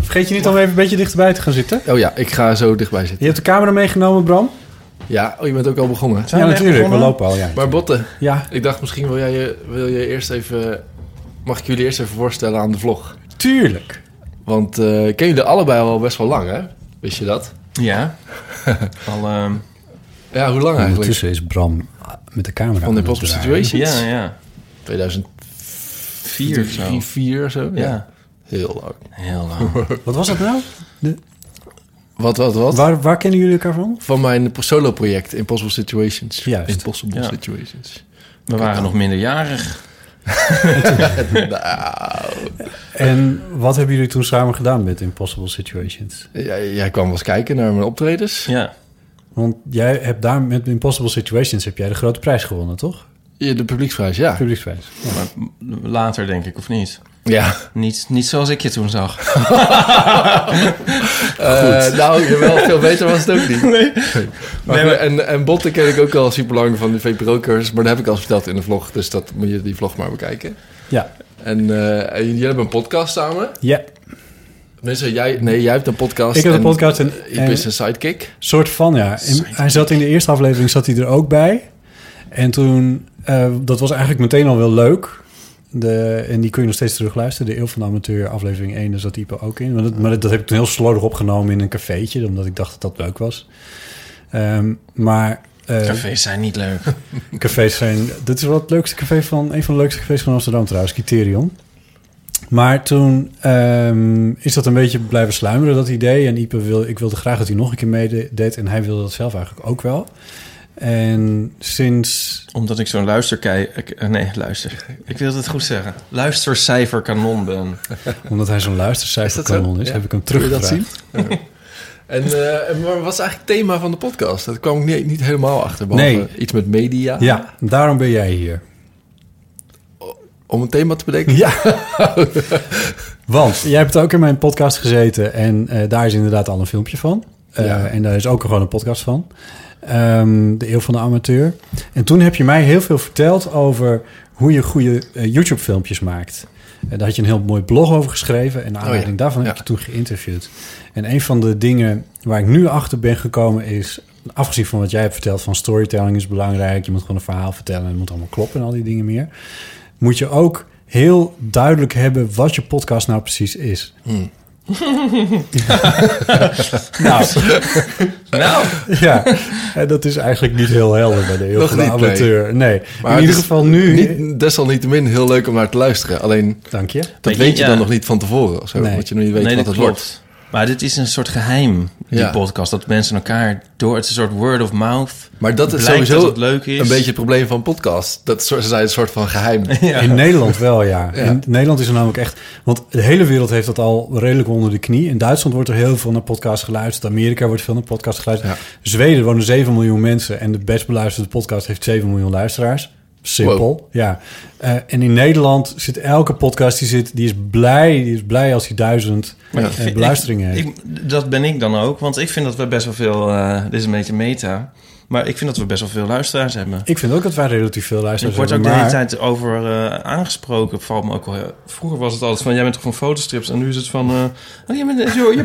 Vergeet je niet om even een beetje dichterbij te gaan zitten. Oh ja, ik ga zo dichtbij zitten. Je hebt de camera meegenomen, Bram. Ja, oh, je bent ook al begonnen. Zijn we echt begonnen? al, ja. Maar Botten, Ja, ik dacht misschien wil, jij je, wil je eerst even... Mag ik jullie eerst even voorstellen aan de vlog? tuurlijk. Want eh ken jullie allebei al best wel lang, hè? Wist je dat? Ja. Al, ehm, Ja, hoe lang eigenlijk? Ondertussen is Bram met de camera. Van de aan het Impossible draaien. Situations? Ja, ja. 2004 Vier of zo. 4 zo, ja. Ja. Heel lang. Heel lang. Wat was dat nou? Wat, wat, wat? Waar, waar kennen jullie elkaar van? Van mijn solo-project Impossible Situations. Juist. Impossible Ja. Situations. We waren nog minderjarig. En wat hebben jullie toen samen gedaan met Impossible Situations? Jij, jij kwam wel eens kijken naar mijn optredens. Ja. Want jij hebt daar met Impossible Situations heb jij de grote prijs gewonnen, toch? Ja, de publieksprijs, ja. Publieksprijs. Maar later denk ik, of niet? Ja. Niet, niet zoals ik je toen zag. Eh, nou, jawel, veel beter was het ook niet. Nee. Maar, en, en Botten ken ik ook al super lang van de VPRO-cursus, maar dat heb ik al verteld in de vlog, dus dat moet je die vlog maar bekijken. Ja. En, eh, en jullie hebben een podcast samen. Ja, Mensen, jij, nee, jij hebt een podcast. ik heb een en eh, podcast en, Je en bent een sidekick. soort van, ja. En hij zat in de eerste aflevering zat hij er ook bij. En toen, eh, dat was eigenlijk meteen al wel leuk. De, en die kun je nog steeds terugluisteren. De Eeuw van de Amateur, aflevering 1, daar zat Ipe ook in. Maar dat, maar dat, dat heb ik toen heel slordig opgenomen in een cafeetje, omdat ik dacht dat dat leuk was. Ehm, maar eh, Cafés zijn niet leuk. cafés zijn... Dit is wel het leukste café van... Een van de leukste cafés van Amsterdam trouwens, Criterion. Maar toen ehm, is dat een beetje blijven sluimeren, dat idee. En Ipe wil, ik wilde graag dat hij nog een keer meedeed. En hij wilde dat zelf eigenlijk ook wel. En sinds... Omdat ik zo'n luisterkei... eh, Nee, luister. Ik wil het goed zeggen. Luistercijferkanon ben. Omdat hij zo'n Is luistercijferkanon is, dat zo? dus heb ik hem Kun je dat teruggevraagd. zien? Ja. En eh, en maar wat is eigenlijk het thema van de podcast? Dat kwam ik niet, niet helemaal achter, behalve Nee. iets met media. Ja, daarom ben jij hier. Om een thema te bedenken. Ja. Want jij hebt ook in mijn podcast gezeten en eh, daar is inderdaad al een filmpje van. Eh, Ja. En daar is ook gewoon een podcast van. Ehm, de Eeuw van de Amateur. En toen heb je mij heel veel verteld over hoe je goede eh, YouTube-filmpjes maakt. En daar had je een heel mooi blog over geschreven. En naar aanleiding daarvan heb Oh Ja. ik je toen geïnterviewd. En een van de dingen waar ik nu achter ben gekomen is... afgezien van wat jij hebt verteld van storytelling is belangrijk... je moet gewoon een verhaal vertellen en het moet allemaal kloppen en al die dingen meer... moet je ook heel duidelijk hebben wat je podcast nou precies is. Hmm. nou, Nou, ja, en dat is eigenlijk niet heel helder bij de heel Nog van de niet, nee. amateur. Nee, Maar in ieder het is geval nu... Niet, desalniettemin heel leuk om naar te luisteren. Alleen Dank je. Dat Weet je, weet je ja. dan nog niet van tevoren. of Zo, Nee. Want je nog niet weet nee, wat dat het klopt. wordt. Maar dit is een soort geheim, die Ja. podcast. Dat mensen elkaar door... Het is een soort word of mouth. Maar dat is Blijkt sowieso dat het leuk is. een beetje het probleem van podcast. Dat soort- ze zijn een soort van geheim. In Nederland wel, ja. In Nederland is er namelijk echt... Want de hele wereld heeft dat al redelijk onder de knie. In Duitsland wordt er heel veel naar podcast geluisterd. Amerika wordt veel naar podcast geluisterd. Zweden wonen 7 miljoen mensen. En de best beluisterde podcast heeft 7 miljoen luisteraars. Simpel, ja. Eh, en in Nederland zit elke podcast die zit... die is blij, die is blij als hij duizend Maar eh, ik vind- beluisteringen heeft. Ik, dat ben ik dan ook, want ik vind dat we best wel veel... eh, dit is een beetje meta, maar ik vind dat we best wel veel luisteraars hebben. Ik vind ook dat wij relatief veel Ik luisteraars word ook de hebben, hele maar- tijd over eh, aangesproken. Valt me ook wel, heel- vroeger was het altijd van, jij bent toch van fotostrips? En nu is het van, eh, oh, je bent je, je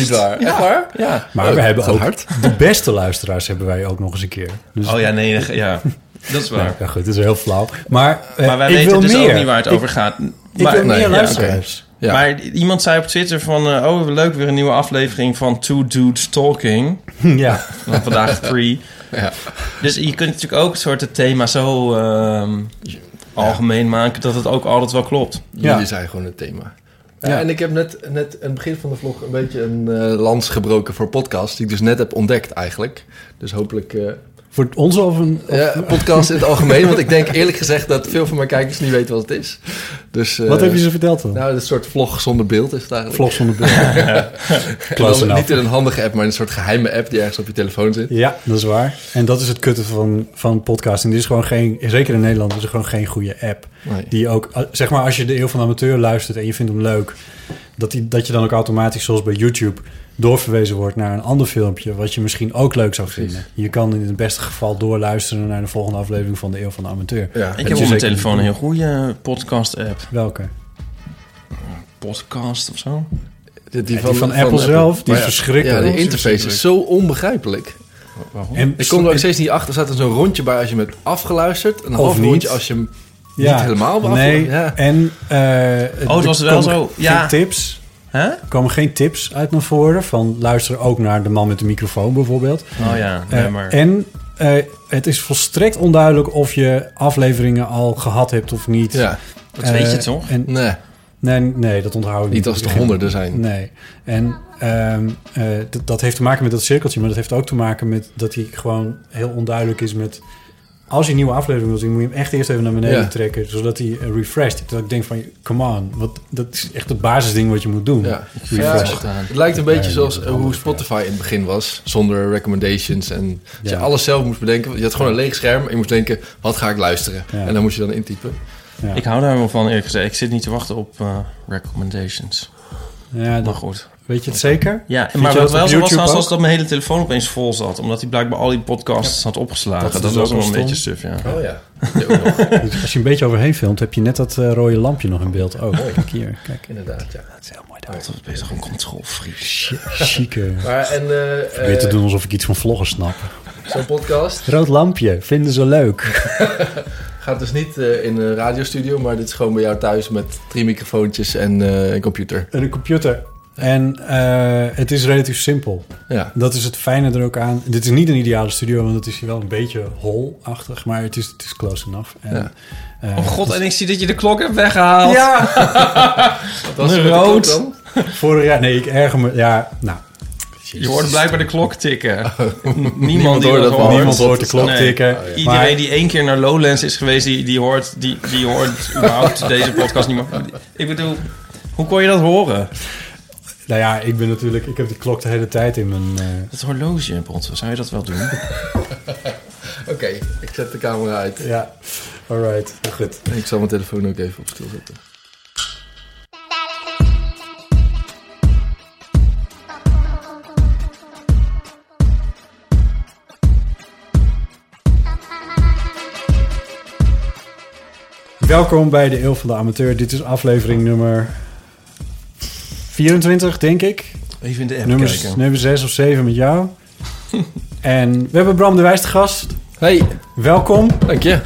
Niet waar. Ja. Echt waar? Ja. Maar Oh, we hebben gaat ook hard. de beste luisteraars hebben wij ook nog eens een keer. Dus Nou, Oh ja, nee, dat- ja. Dat is waar. Ja, goed, het is heel flauw. Maar, eh, Maar wij ik weten wil dus meer. ook niet waar het Ik- over gaat. Ik, maar, wil nee, meer ja, luisteraars. Ja. Maar iemand zei op Twitter van... eh, oh, leuk, weer een nieuwe aflevering van Two Dudes Talking. Ja, Van vandaag three. Ja. Dus je kunt natuurlijk ook soort het thema zo ehm, algemeen maken... dat het ook altijd wel klopt. Ja. Jullie zijn gewoon het thema. Ja, en ik heb net, net aan het begin van de vlog een beetje een eh, lans gebroken voor podcast, die ik dus net heb ontdekt eigenlijk. Dus hopelijk... eh, Voor ons of een... ja, podcast in het algemeen, want ik denk eerlijk gezegd dat veel van mijn kijkers niet weten wat het is. Dus, eh, Wat heb je ze verteld dan? Nou, een soort vlog zonder beeld is het eigenlijk. Vlog zonder beeld. En dan Close enough. niet in een handige app, maar in een soort geheime app die ergens op je telefoon zit. Ja, dat is waar. En dat is het kutte van, van podcasting. Dit is gewoon geen, zeker in Nederland, is er gewoon geen goede app. Nee. Die ook, eh, zeg maar, als je de Eeuw van de Amateur luistert en je vindt hem leuk, dat, die, dat je dan ook automatisch, zoals bij YouTube, doorverwezen wordt naar een ander filmpje, wat je misschien ook leuk zou vinden. Je kan in het beste geval doorluisteren naar de volgende aflevering van de Eeuw van de Amateur. Ja, Ik is heb op mijn zeker- telefoon een heel goede podcast-app. Welke? Oh. Podcast of zo? Die, Ja, die van Apple zelf, die is verschrikkelijk. Ja, de interface is zo onbegrijpelijk. En Ik kom er ook steeds niet achter. Er staat er zo'n rondje bij als je hem hebt afgeluisterd. Een half niet. rondje als je hem niet helemaal beaf- Nee, Ja. en... eh Oh, het was er wel komen zo. geen Ja. tips. Hè? Er komen geen tips uit naar voren. Van luister ook naar de man met de microfoon bijvoorbeeld. Oh ja, nee, Eh, maar... En eh, het is volstrekt onduidelijk of je afleveringen al gehad hebt of niet. ja. Dat weet je Eh, toch? En, Nee, nee, nee, dat onthoud ik niet. niet als er honderden zijn. Nee. En ehm, eh, dat- dat heeft te maken met dat cirkeltje. Maar dat heeft ook te maken met dat hij gewoon heel onduidelijk is met... Als je een nieuwe aflevering wil zien, moet je hem echt eerst even naar beneden Ja. trekken. Zodat hij eh, refreshed. Dat ik denk van, come on. Wat, dat is echt het basisding wat je moet doen. Ja. Refresh. Ja, het lijkt een beetje Nee, zoals dat eh, is hoe handig, Spotify in het begin was. Zonder recommendations. En dat je Ja. alles zelf moest bedenken. Je had gewoon een leeg scherm. En je moest denken, wat ga ik luisteren? Ja. En dan moest je dan intypen. Ja. Ik hou daar wel van, eerlijk gezegd. Ik zit niet te wachten op eh, recommendations. Ja, Maar dat, goed. weet je het zeker? Ja, Vind maar je dat wat op wel zo was, YouTube trouwens, ook? was dat mijn hele telefoon opeens vol zat. Omdat hij blijkbaar al die podcasts had opgeslagen. Dat Dat, is dus was ook wel een wel beetje suf, ja. Oh ja. Ja, ook nog. Dus als je een beetje overheen filmt, heb je net dat eh, rode lampje nog in beeld. Oh, kijk hier. Kijk. Inderdaad, ja. Dat is heel mooi daar. Dat is gewoon controlfreak. Chique. Maar en eh, Probeer te eh, doen alsof ik iets van vloggen snap. zo'n podcast Rood lampje, vinden ze leuk. gaat dus niet eh, in een radiostudio, maar dit is gewoon bij jou thuis met drie microfoontjes en eh, een computer. En een computer. En eh, het is relatief simpel. Ja. Dat is het fijne er ook aan. Dit is niet een ideale studio, want het is hier wel een beetje holachtig. Maar het is, het is close enough. En, Ja. eh, Oh god, en ik zie dat je de klok hebt weggehaald. Wat was er met Een de klok rood. dan? Vorig jaar, nee, ik erger me. Ja, nou, Je hoorde blijkbaar de klok tikken. Niemand, Niemand die hoorde dat, dat hoort. maar niemand hoort de klok Nee. tikken. Oh, Iedereen Maar- die één keer naar Lowlands is geweest, die, die hoort, die, die hoort überhaupt deze podcast niet meer. Ik bedoel, hoe kon je dat horen? Nou ja, ik ben natuurlijk, ik heb die klok de hele tijd in mijn. eh, Dat horloge, Bot, zou je dat wel doen? Oké, ik zet de camera uit. ja, alright, goed. Ik zal mijn telefoon ook even op stil zetten. Welkom bij de Eeuw van de Amateur. Dit is aflevering nummer 24, denk ik. Even in de app Nummer, kijken. nummer 6 of 7 met jou. en we hebben Bram de Wijs te gast. Hey, Welkom, dank je.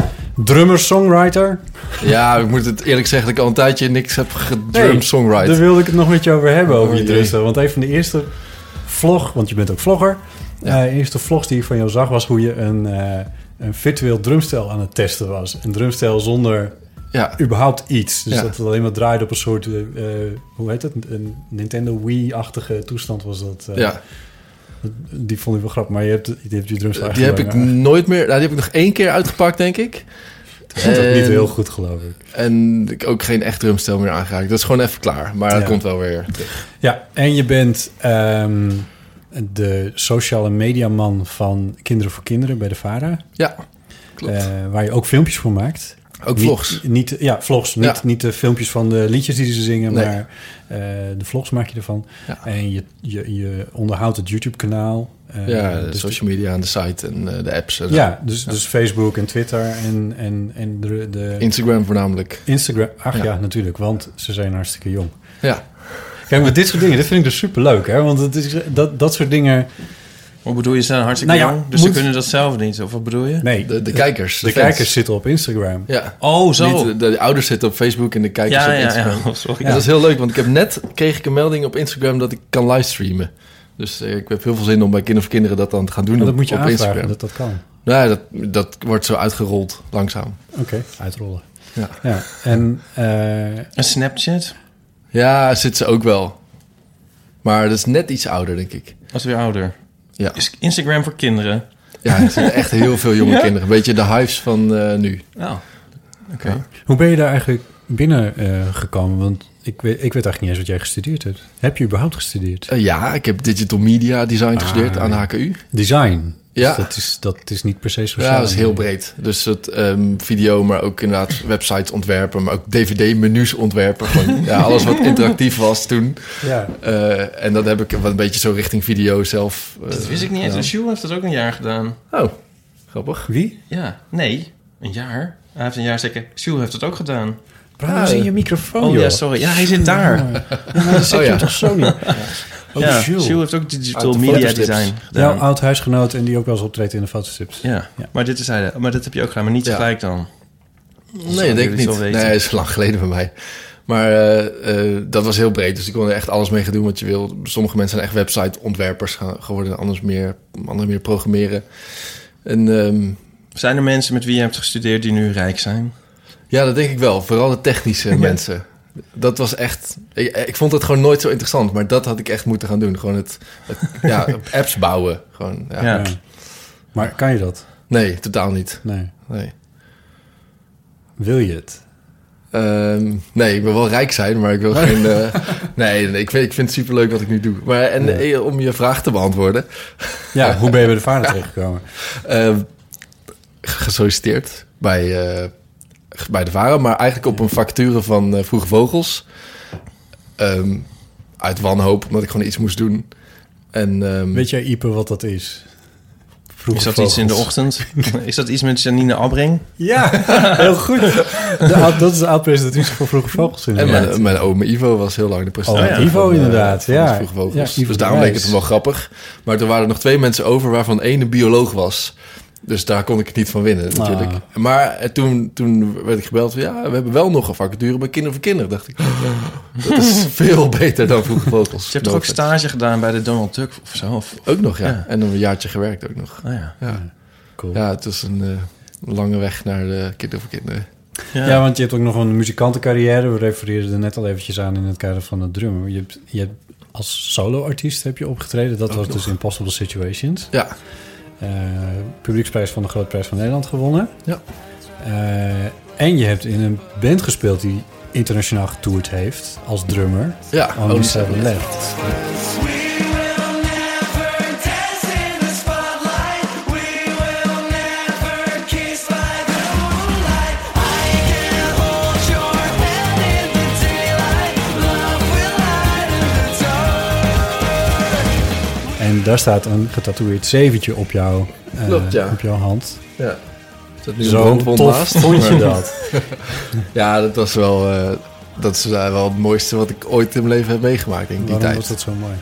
drummer, songwriter. Ja, ik moet het eerlijk zeggen dat ik al een tijdje niks heb gedrummed Nee, Daar songwriter. wilde ik het nog met je over hebben, over Oh, je jee. drumstel. Want een van de eerste vlog, want je bent ook vlogger. Ja. eh, eerste vlogs die ik van jou zag was hoe je een, eh, een virtueel drumstel aan het testen was. Een drumstel zonder Ja, überhaupt iets. Dus Ja. dat het alleen maar draaide op een soort, eh, eh, hoe heet het? Een Nintendo Wii-achtige toestand was dat. eh. ja. Die vond ik wel grappig, maar je hebt, je hebt die drumstel die heb eigenlijk ik wel- nooit meer... Nou, die heb ik nog één keer uitgepakt, denk ik. Dat is ook niet En- heel goed, geloof ik. En ik ook geen echt drumstel meer aangeraakt. Dat is gewoon even klaar. Maar Ja. dat komt wel weer terug. Ja, en je bent ehm, de sociale mediaman van Kinderen voor Kinderen bij de VARA. Ja, klopt. eh, waar je ook filmpjes voor maakt. ook vlogs. Niet, niet, ja, vlogs. Niet, Ja. niet de filmpjes van de liedjes die ze zingen, Nee. maar eh, de vlogs maak je ervan. Ja. En je, je, je onderhoudt het YouTube-kanaal. eh, Ja, de dus social media en de site en eh, de apps. En zo. Ja, dus, dus Facebook en Twitter en, en, en de, de Instagram voornamelijk. Instagram. Ach ja. Ja. natuurlijk, want ze zijn hartstikke jong. Ja. Kijk, maar dit soort dingen, dit vind ik dus superleuk, hè? Want het is, dat, dat soort dingen... Wat bedoel je, ze zijn hartstikke Nou ja, jong, dus ze moet- kunnen dat zelf niet. Of wat bedoel je? Nee, De, de kijkers. De fans. kijkers zitten op Instagram. Ja. Oh, zo. Niet, eh, de, de ouders zitten op Facebook en de kijkers ja, op ja, Instagram. ja. Sorry. En Dat is heel leuk, want ik heb net kreeg ik een melding op Instagram dat ik kan livestreamen. Dus eh, ik heb heel veel zin om bij Kinderen voor Kinderen dat dan te gaan doen Dat op, moet je op aanvragen Instagram. dat dat kan. Nou ja, dat, dat wordt zo uitgerold, langzaam. Oké, uitrollen. Ja. En eh, En Snapchat? Ja, zit ze ook wel. Maar dat is net iets ouder, denk ik. Als weer ouder. Ja, Is Instagram voor kinderen. ja er zitten echt heel veel jonge kinderen. Een beetje de hives van eh, nu. Nou, oké. Hoe ben je daar eigenlijk binnen eh, gekomen? Want ik weet, ik weet eigenlijk niet eens wat jij gestudeerd hebt. Heb je überhaupt gestudeerd? Eh, ja, ik heb digital media Ah, design gestudeerd aan de HKU. Design. Eh, Ja. Dus dat, is, dat is niet per se sociaal. Ja, dat is heel breed. Dus het ehm, video, maar ook inderdaad websites ontwerpen, maar ook dvd-menus ontwerpen. Gewoon, ja, alles wat interactief was toen. Ja. Eh, en dat heb ik wel een beetje zo richting video zelf. eh, Dat wist ik niet eens. En Sjoel heeft dat ook een jaar gedaan. Oh, grappig. Wie? Ja, nee, een jaar. Hij heeft een jaar zeker. Sjoel heeft het ook gedaan. Praat in je microfoon, Oh joh. ja, sorry. Ja, hij zit daar. Oh ja, Zo niet. ja, Sjoel. Sjoel heeft ook digital Uit de media fotostrips. design Jouw gedaan. Ja, oud huisgenoot en die ook wel eens optreedt in de fotostrips. oh. Ja. maar dit is hij. Maar dat heb je ook gedaan, maar niet Ja. gelijk dan. Nee, Zou denk jullie ik het niet. wel Nee, weten? dat is lang geleden bij mij. Maar eh, eh, dat was heel breed, dus ik kon er echt alles mee gaan doen wat je wil. Sommige mensen zijn echt website-ontwerpers ge- geworden, anders meer, anderen meer programmeren. En ehm, Zijn er mensen met wie je hebt gestudeerd die nu rijk zijn? ja, dat denk ik wel. Vooral de technische mensen. Dat was echt... Ik, ik vond het gewoon nooit zo interessant, maar dat had ik echt moeten gaan doen. Gewoon het... het- ja, apps bouwen. Gewoon, ja. Ja. Maar kan je dat? Nee, totaal niet. Nee. Nee. Wil je het? Ehm, nee, ik wil wel rijk zijn, maar ik wil geen. eh, nee, nee, ik vind, ik vind het superleuk wat ik nu doe. Maar en, eh, om je vraag te beantwoorden: Ja, hoe ben je bij de vader terechtgekomen? ehm, gesolliciteerd bij, eh, bij de Varen, maar eigenlijk op een facturen van eh, Vroege Vogels. Ehm, uit wanhoop, omdat ik gewoon iets moest doen. En, ehm, Weet jij, Ipe, wat dat is? Vroeger Is dat iets in de ochtend? Is dat iets met Janine Abreng? Ja, heel goed. De oud- dat is de oud-presentatrice voor Vroege Vogels en inderdaad. mijn, mijn oom Ivo was heel lang de Oh, presentator. Ivo van, eh, inderdaad, van ja. de Vroege Vogels. Ja, Ivo dus daarom leek Drijs. het hem wel grappig. Maar er waren er nog twee mensen over waarvan één een bioloog was. Dus daar kon ik het niet van winnen natuurlijk. Ah. Maar eh, toen, toen werd ik gebeld van... ja, we hebben wel nog een vacature bij Kinderen voor Kinderen. dacht ik, "Oh, dat is veel beter dan Vroege Vogels. Je hebt toch ook stage gedaan bij de Donald Duck of zo? Of, Ook nog, ja. Ja. En een jaartje gewerkt ook nog. oh ja. Ja, Cool. ja het is een eh, lange weg naar de Kinderen voor Kinderen. Ja. Ja, want je hebt ook nog een muzikantencarrière. We refereerden er net al eventjes aan in het kader van het drummen. Je hebt, je hebt als solo-artiest heb je opgetreden. Dat was dus Impossible Situations. Ja, Eh, publieksprijs van de Grote Prijs van Nederland gewonnen. Ja. Eh, en je hebt in een band gespeeld die internationaal getoerd heeft als drummer. ja. Oh, Only Only Seven Seven Left. En daar staat een getatoeëerd zeventje op, jou, eh, Klopt, ja. op jouw hand. ja. Is dat nu een Zo brandwond tof naast? vond je Maar- dat? Ja, dat was wel, eh, dat is eh, wel het mooiste wat ik ooit in mijn leven heb meegemaakt in die Waarom tijd. was dat zo mooi?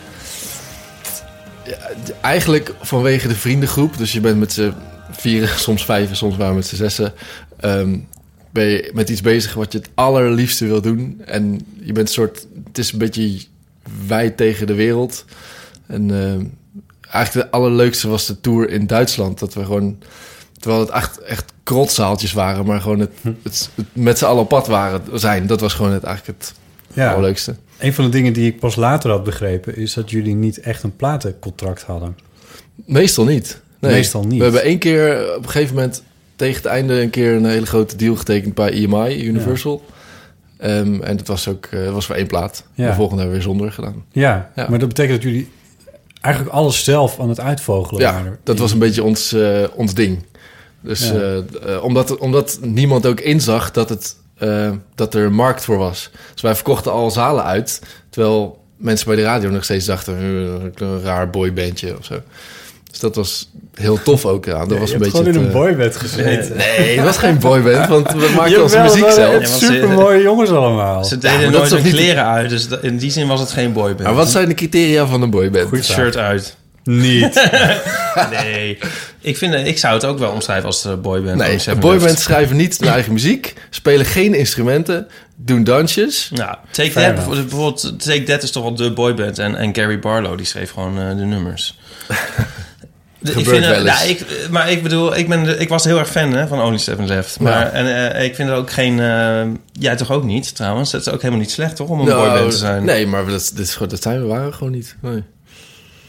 Eigenlijk vanwege de vriendengroep, dus je bent met z'n vieren, soms vijven, soms waren we met z'n zessen. ehm, ben je met iets bezig wat je het allerliefste wil doen. En je bent een soort, het is een beetje wij tegen de wereld. En ehm, eigenlijk de allerleukste was de tour in Duitsland. Dat we gewoon, terwijl het echt, echt krotzaaltjes waren, maar gewoon het, Hm. het, het met z'n allen op pad waren, zijn. Dat was gewoon het, eigenlijk het Ja, allerleukste. een van de dingen die ik pas later had begrepen... is dat jullie niet echt een platencontract hadden. Meestal niet. Meestal niet. We hebben één keer eh, op een gegeven moment tegen het einde een keer een hele grote deal getekend bij EMI, Universal. Ehm, en dat was ook eh, was voor één plaat. Ja. De volgende hebben we weer zonder gedaan. Ja, Ja. maar dat betekent dat jullie eigenlijk alles zelf aan het uitvogelen Ja, waren. dat was een beetje ons, eh, ons ding. Dus Ja. eh, eh, omdat, omdat niemand ook inzag dat, het, eh, dat er een markt voor was. Dus wij verkochten al zalen uit. Terwijl mensen bij de radio nog steeds dachten... "Eh, een raar boybandje of zo. Dus dat was heel tof ook. Ja. Dat was een beetje gewoon in het, een eh, boyband gezeten. Nee, het was geen boyband, want we maakten Jawel, onze muziek dat zelf. waren Ja, echt want ze- supermooie jongens allemaal. Ze Oh. Ja, deden maar dat nooit is toch hun niet- kleren uit, dus dat- in die zin was het geen boyband. Maar wat zijn de criteria van een boyband? Het shirt uit. Niet. Nee. ik, vind, eh, ik zou het ook wel omschrijven als eh, boyband. Nee, Only Seven boybands Left. schrijven niet hun eigen muziek, spelen geen instrumenten, doen dansjes. Nou, Fair Take That, enough. bijvoorbeeld- bijvoorbeeld, Take That is toch wel de boyband. En, en Gary Barlow, die schreef gewoon eh, de nummers. Ik gebeurt vind, wel eens. nou, ik, maar ik bedoel, ik, ben, ik was heel erg fan hè, van Only Seven Left. Maar Ja. en, eh, ik vind het ook geen... eh, jij toch ook niet, trouwens? Het is ook helemaal niet slecht, toch? Om een Nou, boyband te zijn. Nee, maar dat, dit is, gewoon- dat zijn we waren gewoon niet. Nee.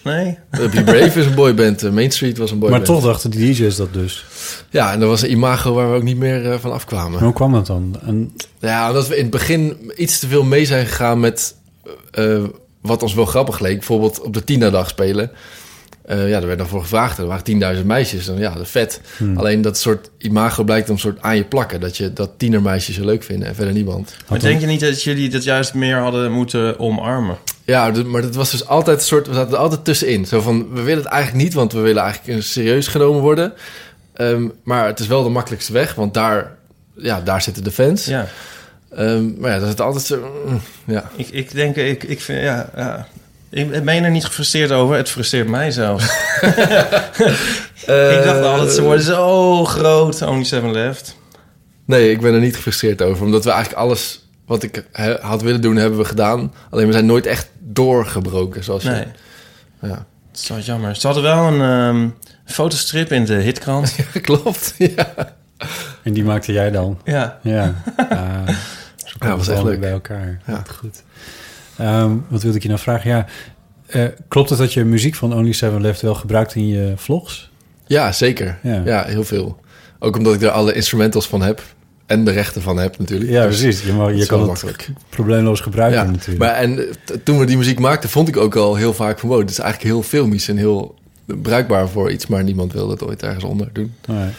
Nee? Eh, Be Brave is een boyband. eh, Main Street was een boyband. Maar toch dachten die DJ's dat dus. Ja, en dat was een imago waar we ook niet meer eh, van afkwamen. En hoe kwam dat dan? En, Ja, omdat we in het begin iets te veel mee zijn gegaan met eh, wat ons wel grappig leek. Bijvoorbeeld op de Tina-dag spelen. Eh, ja, daar werd dan voor gevraagd. Er waren 10.000 meisjes. Dan, ja, dat is vet. Alleen dat soort imago blijkt dan soort aan je plakken. Dat, je, dat tienermeisjes je leuk vinden en verder niemand. Maar denk je niet dat jullie dat juist meer hadden moeten omarmen? Ja, d- maar dat was dus altijd een soort... We zaten er altijd tussenin. Zo van, we willen het eigenlijk niet, want we willen eigenlijk eh, serieus genomen worden. Ehm, maar het is wel de makkelijkste weg, want daar, ja, daar zitten de fans. Ja. Ehm, maar ja, dat is het altijd zo... mm, ja. Ik, ik denk, ik, ik vind, ja, ja. Ik ben er niet gefrustreerd over. Het frustreert mij zelfs. Eh, ik dacht altijd, ze worden zo groot. Only Seven Left. Nee, ik ben er niet gefrustreerd over. Omdat we eigenlijk alles wat ik he- had willen doen, hebben we gedaan. Alleen we zijn nooit echt doorgebroken, zoals Nee. je... Ja. Dat is wel jammer. Ze hadden wel een ehm, fotostrip in de hitkrant. Klopt, ja. en die maakte jij dan? ja. Ja. Ah, zo komt was het echt allemaal leuk. Bij elkaar. Ja. Wat Goed. Ehm, wat wilde ik je nou vragen? Ja, eh, klopt het dat je muziek van Only Seven Left wel gebruikt in je vlogs? Ja, zeker. Ja. Ja. heel veel. Ook omdat ik er alle instrumentals van heb. En de rechten van heb natuurlijk. Ja, Dus precies. Je, mag- dat je is kan wel het probleemloos gebruiken Ja, natuurlijk. maar en eh, t- toen we die muziek maakten, vond ik ook al heel vaak van... wow, dit is eigenlijk heel filmisch en heel bruikbaar voor iets... maar niemand wil dat ooit ergens onder doen. Nee.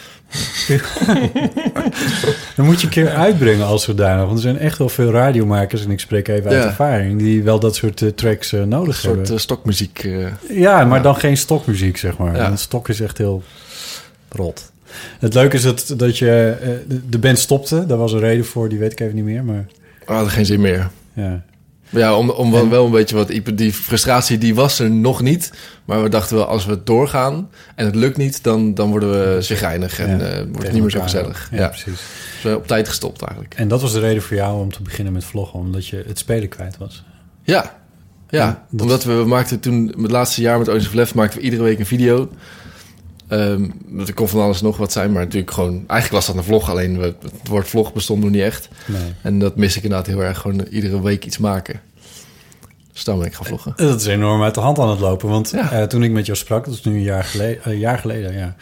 Dan moet je een keer uitbrengen als zodanig. Want er zijn echt wel veel radiomakers, en ik spreek even uit Ja. ervaring, die wel dat soort eh, tracks eh, nodig Een soort hebben. eh, stokmuziek. eh. ja, maar dan geen stokmuziek, zeg maar. Ja. Want stok is echt heel rot. Het leuke is dat, dat je eh, de- de band stopte. Daar was een reden voor, die weet ik even niet meer. Maar we hadden geen zin meer. ja. Ja, om, om wel, wel een beetje wat Ipe- die frustratie die was er nog niet. Maar we dachten wel, als we doorgaan en het lukt niet, dan, dan worden we zigeinig en ja, eh, wordt het tegen niet meer zo elkaar. gezellig. Ja, Ja, precies. Dus we zijn op tijd gestopt eigenlijk. En dat was de reden voor jou om te beginnen met vloggen, omdat je het spelen kwijt was. Ja, ja. En dat- omdat we, we maakten toen, het laatste jaar met Ocean Left maakten we iedere week een video. Ehm dat kon van alles nog wat zijn, maar natuurlijk gewoon... Eigenlijk was dat een vlog, alleen we, het woord vlog bestond nog niet echt. Nee. En dat mis ik inderdaad heel erg, gewoon iedere week iets maken. Dus dan ben ik gaan vloggen. Dat is enorm uit de hand aan het lopen. Want Ja. eh, toen ik met jou sprak, dat is nu een jaar geleden, een jaar geleden ja,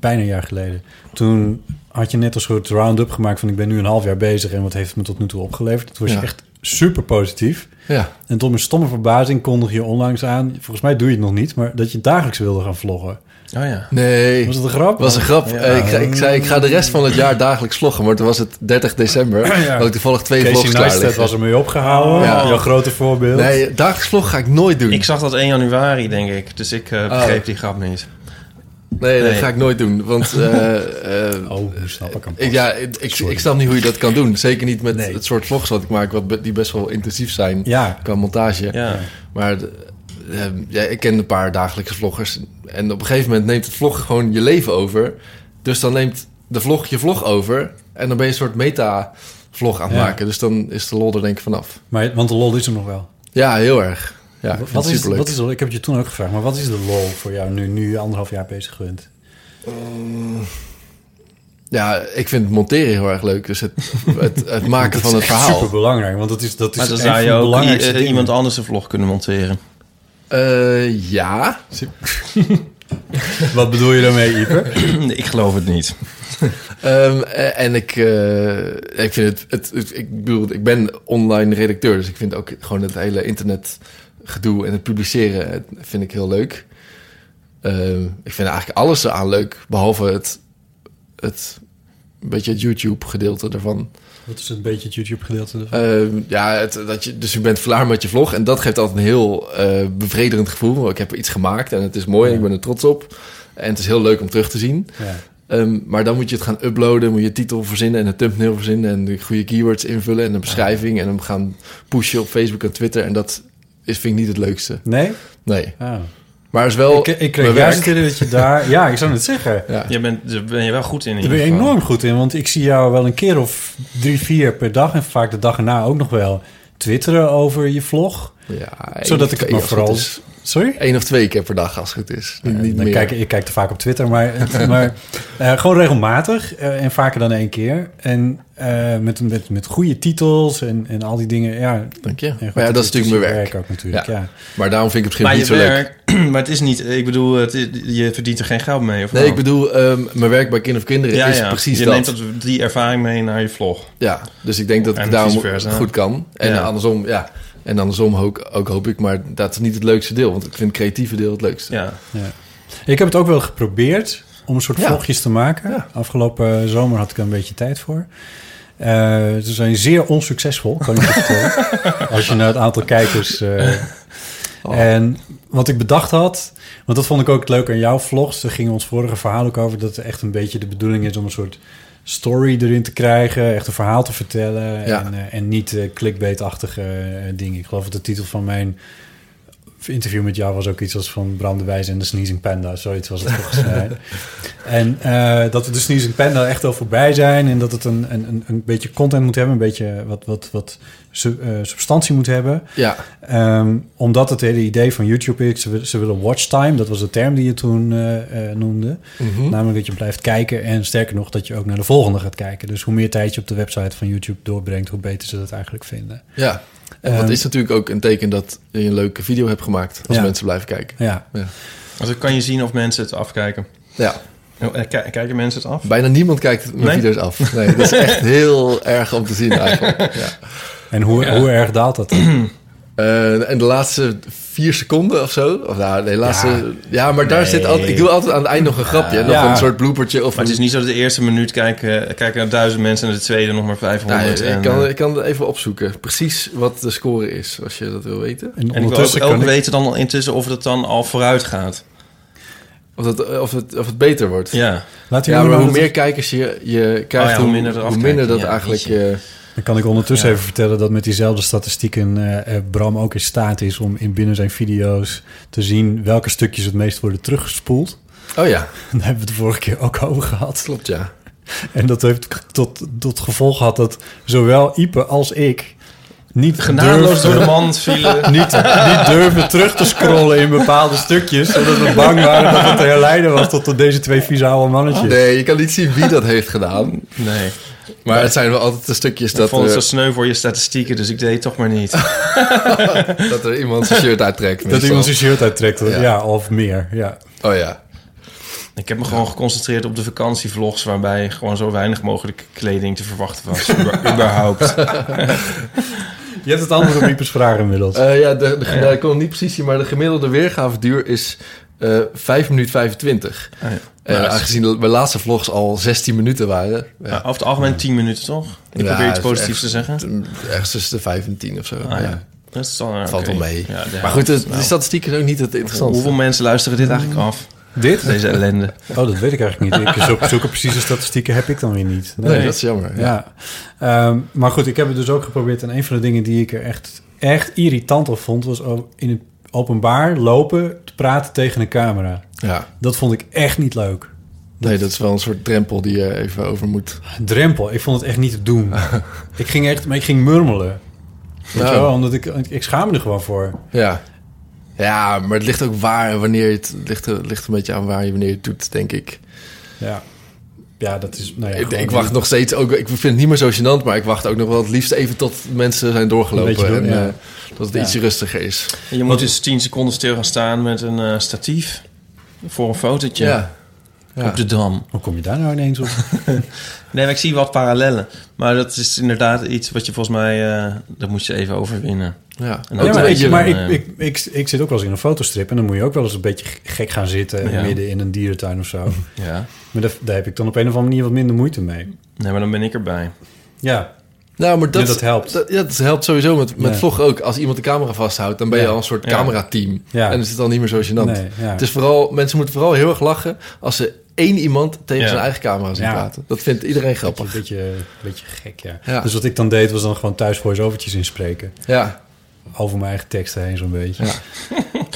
bijna een jaar geleden. Toen had je net een soort round-up gemaakt van ik ben nu een half jaar bezig en wat heeft het me tot nu toe opgeleverd. Toen was je Ja. echt super positief. Ja, En tot mijn stomme verbazing kondig je onlangs aan, volgens mij doe je het nog niet, maar dat je dagelijks wilde gaan vloggen. Oh ja. nee. Was het een grap? Dat was een grap. Ja. Eh, ik, zei- ik zei, ik ga de rest van het jaar dagelijks vloggen. Maar toen was het 30 december. Ja. Had ik toevallig twee Casey vlogs klaar Neistat liggen. was ermee opgehouden. Ja. Jouw grote voorbeeld. Nee, dagelijks vlog ga ik nooit Hmm. doen. Ik zag dat 1 januari, denk ik. Dus ik Oh. eh, begreep die grap niet. nee, dat nee. ga ik nooit doen. Want eh, eh, Oh, nu snap ik hem pas. ik, ja, ik, ik, Sorry. ik snap niet hoe je dat kan doen. Zeker niet met Nee. het soort vlogs wat ik maak, wat, be- die best wel intensief zijn Ja. qua montage. Ja. Maar de- ehm, ja, ik ken een paar dagelijkse vloggers. En op een gegeven moment neemt het vlog gewoon je leven over. Dus dan neemt de vlog je vlog over. En dan ben je een soort meta-vlog aan het Ja. maken. Dus dan is de lol er denk ik vanaf. Maar, want de lol is er nog wel. Ja, heel erg. Ja, ik vind Wat het is, superleuk. wat is de, ik heb het je toen ook gevraagd, maar wat is de lol voor jou nu, nu je anderhalf jaar bezig bent? Ja, ik vind het monteren heel erg leuk. Dus het, het, het maken van het verhaal. Super belangrijk, want dat is dat is Maar dan een zou van je de ook i- belangrijkste eh, dingen. iemand anders een vlog kunnen monteren. Eh, ja. Wat bedoel je daarmee, Ieper? ik geloof het niet. Ehm, eh, en ik, eh, ik vind het, het, het- ik bedoel, ik ben online redacteur, dus ik vind ook gewoon het hele internet gedoe en het publiceren het vind ik heel leuk. Ehm, ik vind eigenlijk alles eraan leuk, behalve het, het een beetje het YouTube gedeelte ervan. Wat is een beetje het YouTube-gedeelte ervan? Ehm, ja, het, dat je, dus je bent klaar met je vlog. En dat geeft altijd een heel eh, bevredigend gevoel. want Ik heb iets gemaakt en het is mooi en ik ben er trots op. En het is heel leuk om terug te zien. ja. Ehm, maar dan moet je het gaan uploaden. Moet je titel verzinnen en een thumbnail verzinnen. En de goede keywords invullen en een beschrijving. En hem gaan pushen op Facebook en Twitter. En dat is, vind ik niet het leukste. Nee? Nee. Ah. Maar het is Oh, wel ik, eh, ik kreeg mijn juist het werk. idee dat je daar... Ja, ik zou het zeggen. Ja. Je bent, daar ben je wel goed in. in Daar ben je ieder geval. enorm goed in, want ik zie jou wel een keer of drie, vier per dag... en vaak de dag erna ook nog wel twitteren over je vlog. Ja, zodat ik het één of maar twee, als vooral is. Sorry? Eén of twee keer per dag, als het goed is. Niet, niet dan meer. Kijk, ik kijk er vaak op Twitter, maar, maar eh, gewoon regelmatig eh, en vaker dan één keer. En eh, met, met, met goede titels en, en al die dingen. Ja, Dank je. En goed, Maar ja, dat is natuurlijk mijn werk. ook natuurlijk, ja. Maar daarom vind ik het Maar misschien je niet zo leuk. werk, maar het is niet, ik bedoel, het is- je verdient er geen geld mee. Of Nee, wel? ik bedoel, ehm, mijn werk bij Kind of Kinderen Oh. ja, is ja. precies je dat. neemt dat die ervaring mee naar je vlog. Ja, dus ik denk dat En ik daarom vice versa. goed kan. En Ja. andersom, ja. En andersom ook, ook hoop ik, maar dat is niet het leukste deel. Want ik vind het creatieve deel het leukste. Ja. Ik heb het ook wel geprobeerd om een soort Ja. vlogjes te maken. Ja. Afgelopen zomer had ik er een beetje tijd voor. Eh, ze zijn zeer onsuccesvol, kan ik je vertellen. Als je naar het aantal kijkers... eh, En wat ik bedacht had, want dat vond ik ook leuk aan jouw vlogs. Daar ging ons vorige verhaal ook over dat het echt een beetje de bedoeling is om een soort story erin te krijgen. Echt een verhaal te vertellen Ja. en, eh, en niet eh, clickbait-achtige eh, dingen. Ik geloof dat de titel van mijn interview met jou was ook iets als van Bram de Wijs en de Sneezing Panda. Zoiets was het volgens mij. En eh, dat we de Sneezing Panda echt al voorbij zijn. En dat het een, een, een- een beetje content moet hebben. Een beetje wat, wat, wat su- eh, substantie moet hebben. Ja, Ehm, omdat het hele idee van YouTube is, ze, wil- ze willen watchtime. Dat was de term die je toen eh, eh, noemde. Hm? Nou, Namelijk dat je blijft kijken en sterker nog dat je ook naar de volgende gaat kijken. Dus hoe meer tijd je op de website van YouTube doorbrengt, hoe beter ze dat eigenlijk vinden. ja. En dat is natuurlijk ook een teken dat je een leuke video hebt gemaakt. Als Ja. mensen blijven kijken. Ja, Ja. Want dan kan je zien of mensen het afkijken. ja, Oh, eh, ki- Kijken mensen het af? bijna niemand kijkt mijn Nee? video's af. Nee, dat is echt heel erg om te zien eigenlijk. Ja. en hoe, hoe erg daalt dat? dan? Eh, en de laatste vier seconden of zo. Of nou, nee, laatste, ja. maar daar Nee. zit altijd. Ik doe altijd aan het eind nog een grapje. nog Ja. een soort bloopertje. Of Maar het is een- niet zo dat de eerste minuut kijken, eh, kijken duizend mensen en de tweede nog maar 500. Nou, en, ik, kan, eh, ik kan het even opzoeken. Precies wat de score is, als je dat wil weten. En en ik wil ook, ondertussen ook kan ik... weten dan intussen of het dan al vooruit gaat. Of, dat, eh, of, het, of het beter wordt. Ja. Laat jullie Ja, maar maar hoe dat- meer kijkers je, je krijgt, Oh ja, hoe, hoe hoe minder minder, er afkijken. dat Ja, eigenlijk... eh, Dan kan ik ondertussen Ja. even vertellen dat met diezelfde statistieken eh, eh, Bram ook in staat is om in binnen zijn video's te zien welke stukjes het meest worden teruggespoeld. oh ja, Daar hebben we het de vorige keer ook over gehad. klopt ja. En dat heeft tot, tot gevolg gehad dat zowel Ipe als ik niet Genadeloos durfden, door de mand vielen. niet, niet durfden terug te scrollen in bepaalde stukjes. Zodat we bang waren dat het te herleiden was tot deze twee vieze oude mannetjes. Nee, je kan niet zien wie dat heeft gedaan. Nee. Maar het zijn wel altijd de stukjes Ik dat, vond het eh, zo sneu voor je statistieken, dus ik deed het toch maar niet. dat er iemand zijn shirt uittrekt. Dat meestal. iemand zijn shirt uittrekt, ja. Ja. of meer. Ja. Oh ja. Ik heb me gewoon geconcentreerd op de vakantievlogs... waarbij gewoon zo weinig mogelijk kleding te verwachten was. uber- überhaupt. Je hebt het andere Iepers vragen inmiddels. Eh, ja, de, de, nou, ik kon het niet precies zien, maar de gemiddelde weergave duur is eh 5 minuten 25. Ah, ja. Eh, aangezien de- mijn laatste vlogs al 16 minuten waren. Ja, Ja. Over het algemeen 10 minuten, toch? Ik Ja, probeer het iets is positiefs echt- te zeggen. Ergens tussen de 5 en 10 of zo. Ah, ja. ja. Dat is dan, eh, Valt wel oké. mee. Ja, nou. de maar helft goed, de, is de wel. statistiek is ook niet het interessantste. Hoeveel mensen luisteren dit eigenlijk af? Dit? Deze ellende. Oh, dat weet ik eigenlijk niet. Ik zoek, zoeken precieze statistieken heb ik dan weer niet. Nee, dat is jammer. Ja. Ja, Ehm, maar goed, ik heb het dus ook geprobeerd. En een van de dingen die ik er echt, echt irritant op vond, was o- in het openbaar lopen te praten tegen een camera. Ja. Dat vond ik echt niet leuk. Nee, dat is wel een soort drempel die je even over moet. Een drempel, ik vond het echt niet te doen. ik ging echt, maar ik ging murmelen. Weet Nou. je wel, omdat ik, ik schaamde er gewoon voor. Ja. Ja, maar het ligt ook waar en wanneer je het, het ligt, het ligt een beetje aan waar je wanneer je het doet, denk ik. Ja, ja dat is. Nou ja, ik, gewoon ik wacht nog steeds ook. Ik vind het niet meer zo gênant, maar ik wacht ook nog wel het liefst even tot mensen zijn doorgelopen. Een beetje en, doen, ja. eh, dat het Ja. iets rustiger is. En Je moet dus 10 seconden stil gaan staan met een eh, statief... voor een fotootje Ja. ja. op de Dam. Hoe kom je daar nou ineens op? Nee, maar ik zie wat parallellen. Maar dat is inderdaad iets wat je volgens mij... eh, dat moet je even overwinnen. Ja. En Ja, ook maar een ik, beetje maar een, ik, eh, ik, ik, ik zit ook wel eens in een fotostrip en dan moet je ook wel eens een beetje gek gaan zitten Ja. midden in een dierentuin of zo. Ja. Maar daar, daar heb ik dan op een of andere manier wat minder moeite mee. Nee, maar dan ben ik erbij. Ja, Nou, maar dat, Ja, dat helpt. Dat, ja, dat helpt sowieso met, met Ja. vlog ook. Als iemand de camera vasthoudt, dan ben je Ja. al een soort Ja. camerateam. Ja. En is het dan niet meer zo gênant. Nee, ja. het is vooral, mensen moeten vooral heel erg lachen als ze één iemand tegen Ja. zijn eigen camera zien Ja. praten. Dat vindt iedereen een grappig. beetje, beetje gek, ja. Ja. Dus wat ik dan deed, was dan gewoon thuis voice-overtjes inspreken. Ja, Over mijn eigen teksten heen zo'n beetje. Ja.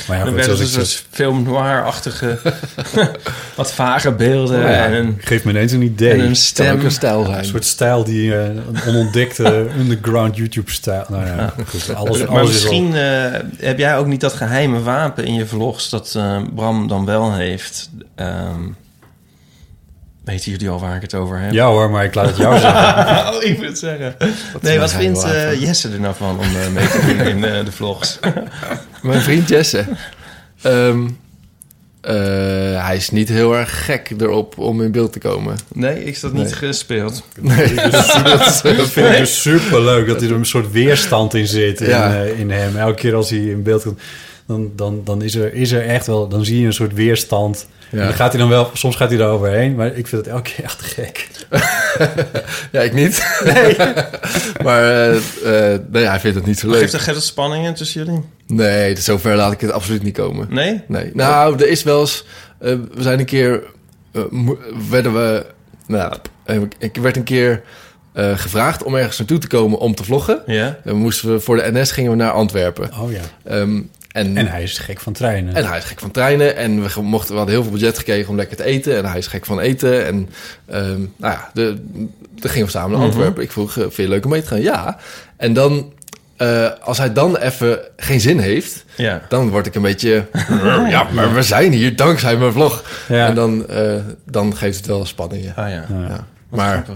Maar ja, dan goed, werden zoals dus ik een film noir-achtige, wat vage beelden Oh en een, Geef me ineens een idee. en een Het kan stem. ook een stijl zijn. Een soort stijl die eh, een onontdekte underground YouTube-stijl. Nou ja, goed, alles, alles is maar al... misschien eh, heb jij ook niet dat geheime wapen in je vlogs dat eh, Bram dan wel heeft. Ehm, weten jullie al waar ik het over heb? Ja hoor, maar ik laat het jou zeggen. Oh, ik wil het zeggen. nee, wat geheim vindt eh, wapen? Jesse er nou van om eh, mee te doen in eh, de vlogs? Mijn vriend Jesse. Ehm, eh, hij is niet heel erg gek erop om in beeld te komen. Nee, ik is dat niet gespeeld. Dat vind ik dus superleuk, dat er een soort weerstand in zit in, Ja. eh, in hem. Elke keer als hij in beeld komt, dan, dan, dan is, er, is er echt wel... Dan zie je een soort weerstand. En dan gaat hij dan wel, soms gaat hij daar overheen, maar ik vind het elke keer echt gek. Ja, ik niet. maar eh, eh, nee, hij vindt het niet zo leuk. Geeft er, geeft het spanningen tussen jullie? Nee, dus zover laat ik het absoluut niet komen. Nee? Nee. Nou, er is wel eens... eh, we zijn een keer... eh, mo- werden we... Nou, eh, ik werd een keer eh, gevraagd om ergens naartoe te komen om te vloggen. Ja? En we moesten we, voor de NS gingen we naar Antwerpen. Oh ja. Ehm, en, En hij is gek van treinen. en hij is gek van treinen. En we, ge- mochten, we hadden heel veel budget gekregen om lekker te eten. En hij is gek van eten. En ehm, nou ja, de, de gingen we samen naar Antwerpen. Ik vroeg, eh, vind je leuk om mee te gaan? Ja. En dan, eh, als hij dan even geen zin heeft... Ja. Dan word ik een beetje. Ja, maar we zijn hier dankzij mijn vlog. Ja. En dan, eh, dan geeft het wel spanning. Ja. Ah ja. Ja. Ja. Maar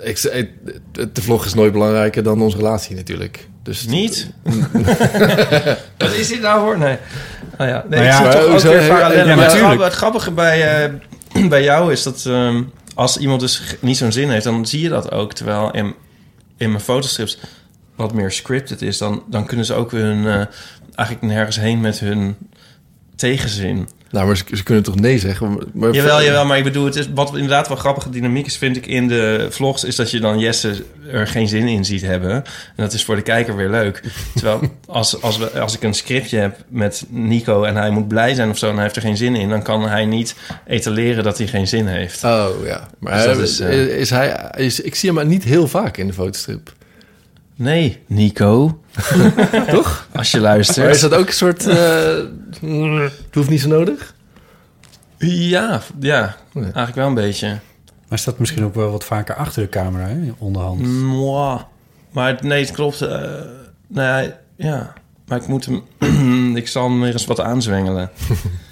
ik, ik, de vlog is nooit belangrijker dan onze relatie natuurlijk. Dus Niet? Wat is dit nou voor? Nee. Nou ja, nee, Maar ja, ik zie maar toch ook hoezo? weer parallellen. Ja, Maar het, natuurlijk. grappige, het grappige bij, eh, bij jou is dat ehm, als iemand dus g- niet zo'n zin heeft, dan zie je dat ook. Terwijl in, in mijn fotostrips wat meer scripted is, dan, dan kunnen ze ook weer hun, eh, eigenlijk nergens heen met hun tegenzin. Nou, maar ze, ze kunnen toch nee zeggen? Maar, Jawel, jawel, maar ik bedoel, het is, wat inderdaad wel grappige dynamiek is, vind ik in de vlogs, is dat je dan Jesse er geen zin in ziet hebben. En dat is voor de kijker weer leuk. Terwijl als, als, we, als ik een scriptje heb met Nico en hij moet blij zijn of zo en hij heeft er geen zin in, dan kan hij niet etaleren dat hij geen zin heeft. Oh ja. Maar Dus dat eh, is, is, eh, hij, is, ik zie hem niet heel vaak in de fotostrip. Nee, Nico. Toch? Als je Maar is luistert. dat ook een soort. eh, mm, het hoeft niet zo nodig? Ja, Oh ja, Nee. eigenlijk wel een beetje. Maar staat misschien ook wel wat vaker achter de camera, hè, onderhand. Mm. Mwah. Maar het- nee, het klopt. eh nou ja, ja, maar ik moet hem... ik zal hem weer eens wat aanzwengelen.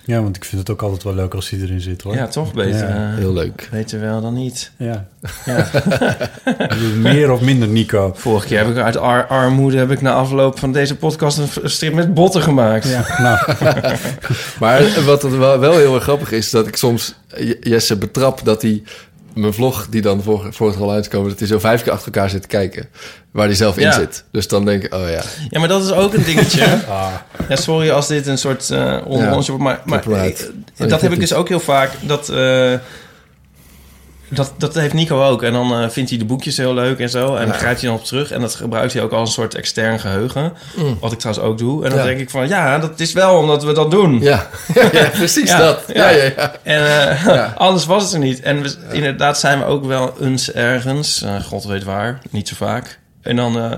Ja, want ik vind het ook altijd wel leuk als hij erin zit, hoor. Ja, toch beter. Ja. eh, Heel leuk. beter wel dan niet. Ja. Meer of minder Nico. Vorige keer heb ik uit ar- armoede heb ik na afloop van deze podcast een v- een strip met botten gemaakt. Ja, nou, Maar wat het wel, wel heel erg grappig is, dat ik soms J- Jesse betrap dat hij mijn vlog, die dan voor, voor het al uitkomen, dat hij zo vijf keer achter elkaar zit te kijken. Waar hij zelf in Ja. zit. Dus dan denk ik, oh ja. Ja, maar dat is ook een dingetje. Ah. Ja, sorry als dit een soort eh on- Ja, onzin wordt, maar, maar copyright. Oh, eh, Nee, dat dat heb ik niet. dus ook heel vaak. Dat, eh, dat, dat heeft Nico ook. En dan eh, vindt hij de boekjes heel leuk en zo. En daar grijpt hij dan op terug. En dat gebruikt hij ook als een soort extern geheugen. Wat ik trouwens ook doe. En dan Mm. Ja. denk ik van, ja, dat is wel omdat we dat doen. Ja, ja, ja, precies Ja, dat. Ja, ja. ja, ja. En eh, anders was het er niet. En we, inderdaad zijn we ook wel eens ergens, eh, god weet waar, niet zo vaak. En dan eh,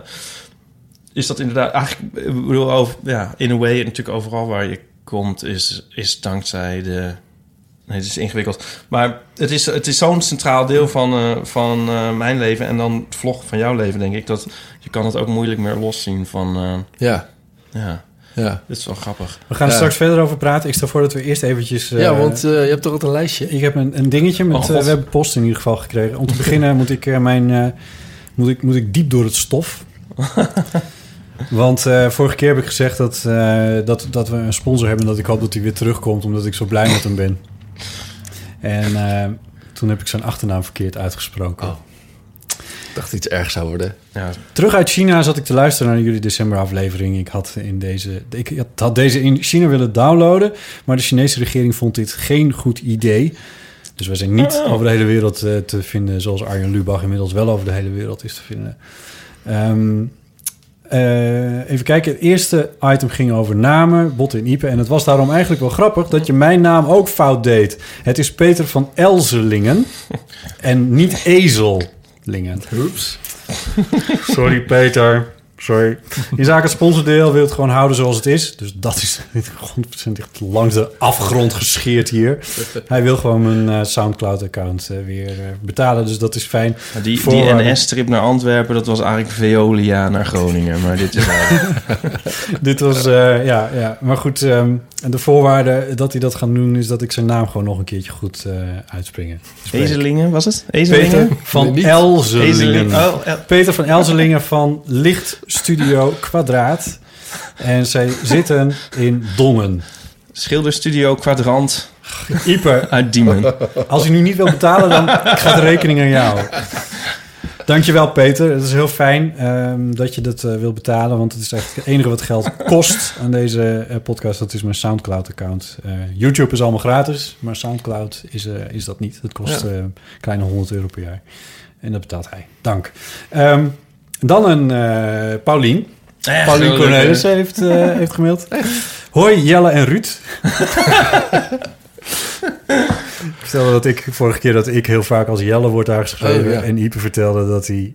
is dat inderdaad, eigenlijk, ik bedoel, over, ja, in a way, natuurlijk overal waar je komt, is, is dankzij de. Nee, het is ingewikkeld. Maar het is, het is zo'n centraal deel van, eh, van eh, mijn leven en dan het vlog van jouw leven, denk ik. Dat je kan het ook moeilijk meer loszien van. eh, Ja, ja, ja. dit is wel grappig. we gaan er Ja. straks verder over praten. Ik stel voor dat we eerst eventjes... eh, ja want eh, je hebt toch altijd een lijstje? ik heb een, een dingetje met... Oh, eh, God. we hebben post in ieder geval gekregen. Om te beginnen moet ik, eh, mijn, eh, moet ik, moet ik diep door het stof. Want eh, vorige keer heb ik gezegd dat, eh, dat, dat we een sponsor hebben... en dat ik hoop dat hij weer terugkomt, omdat ik zo blij met hem ben. En eh, toen heb ik zijn achternaam verkeerd uitgesproken. Oh. Ik dacht iets erg zou worden. Ja, Terug uit China zat ik te luisteren naar jullie decemberaflevering. Ik had, in deze, ik had- had deze in China willen downloaden, maar de Chinese regering vond dit geen goed idee. Dus we zijn niet over de hele wereld eh, te vinden, zoals Arjen Lubach inmiddels wel over de hele wereld is te vinden. Ehm, eh, even kijken, het eerste item ging over namen, botten en iepen. En het was daarom eigenlijk wel grappig dat je mijn naam ook fout deed. Het is Peter van Elzelingen en niet Ezelingen. Oeps. Sorry Peter. Sorry. In zaken het sponsordeel wil het gewoon houden zoals het is. Dus dat is 100% echt langs de afgrond gescheerd hier. Hij wil gewoon mijn eh, Soundcloud-account eh, weer eh, betalen. Dus dat is fijn. Maar Die, die Voorwaarden. NS-trip naar Antwerpen, dat was eigenlijk Veolia naar Groningen. Maar dit is eh, Dit was, eh, ja, ja. Maar goed, ehm, en de voorwaarde dat hij dat gaat doen... is dat ik zijn naam gewoon nog een keertje goed eh uitspringen. Spreek. Ezelingen, was het? Peter Ezelingen? van Nee, niet. Elzelingen. Ezelingen. Oh, El- Peter van Elzelingen van Licht Studio Kwadraat. En zij zitten in Dongen. Schilderstudio Kwadrant Ieper, uit Eh, Diemen. Als je nu niet wil betalen, dan gaat de rekening aan jou. Dankjewel, Peter. Het is heel fijn ehm, dat je dat eh wil betalen. Want het is echt het enige wat geld kost aan deze eh, podcast. Dat is mijn Soundcloud-account. Eh, YouTube is allemaal gratis, maar Soundcloud is, eh, is dat niet. Het kost Ja. eh, een kleine 100 euro per jaar. En dat betaalt hij. Dank. Ehm, dan een eh Paulien. Echt Paulien wel Cornelis leuk, heeft, eh, heeft gemaild. Hoi Jelle en Ruud. ik vertelde dat ik vorige keer dat ik heel vaak als Jelle wordt aangeschreven. Oh, ja. En Ipe vertelde dat hij... hè?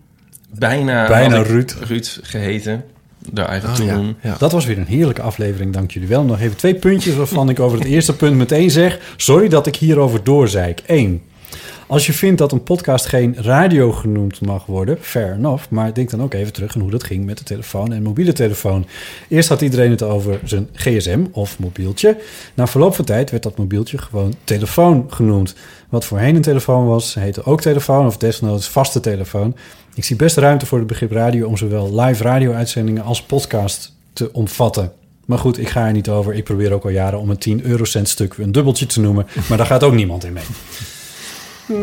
Bijna, Bijna had ik Ruud. Ruud geheten. Daar eigenlijk Oh, toen. ja. ja. Dat was weer een heerlijke aflevering, dank jullie wel. Nog even twee puntjes waarvan ik over het eerste punt meteen zeg... Sorry dat ik hierover doorzeik. Eén. Als je vindt dat een podcast geen radio genoemd mag worden, fair enough. Maar denk dan ook even terug aan hoe dat ging met de telefoon en mobiele telefoon. Eerst had iedereen het over zijn gsm of mobieltje. Na verloop van tijd werd dat mobieltje gewoon telefoon genoemd. Wat voorheen een telefoon was, heette ook telefoon of desnoods vaste telefoon. Ik zie best ruimte voor het begrip radio om zowel live radio-uitzendingen als podcast te omvatten. Maar goed, ik ga er niet over. Ik probeer ook al jaren om een 10 eurocent stuk een dubbeltje te noemen. Maar daar gaat ook niemand in mee.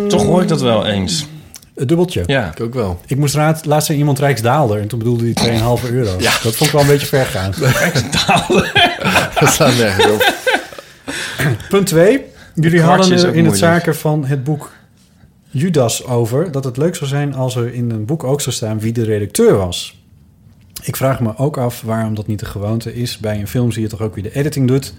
Toch hoor ik dat wel eens. Het dubbeltje. Ja. Ik ook wel. Ik moest raad, laatst zei iemand Rijksdaalder en toen bedoelde hij 2,5 euro. Dat vond ik wel een beetje ver gaan. Dat staat nergens op. Punt 2. Jullie kwartje hadden is er ook in het moeilijk. zaken van het boek Judas over dat het leuk zou zijn als er in een boek ook zou staan wie de redacteur was. Ik vraag me ook af waarom dat niet de gewoonte is. Bij een film zie je toch ook wie de editing doet.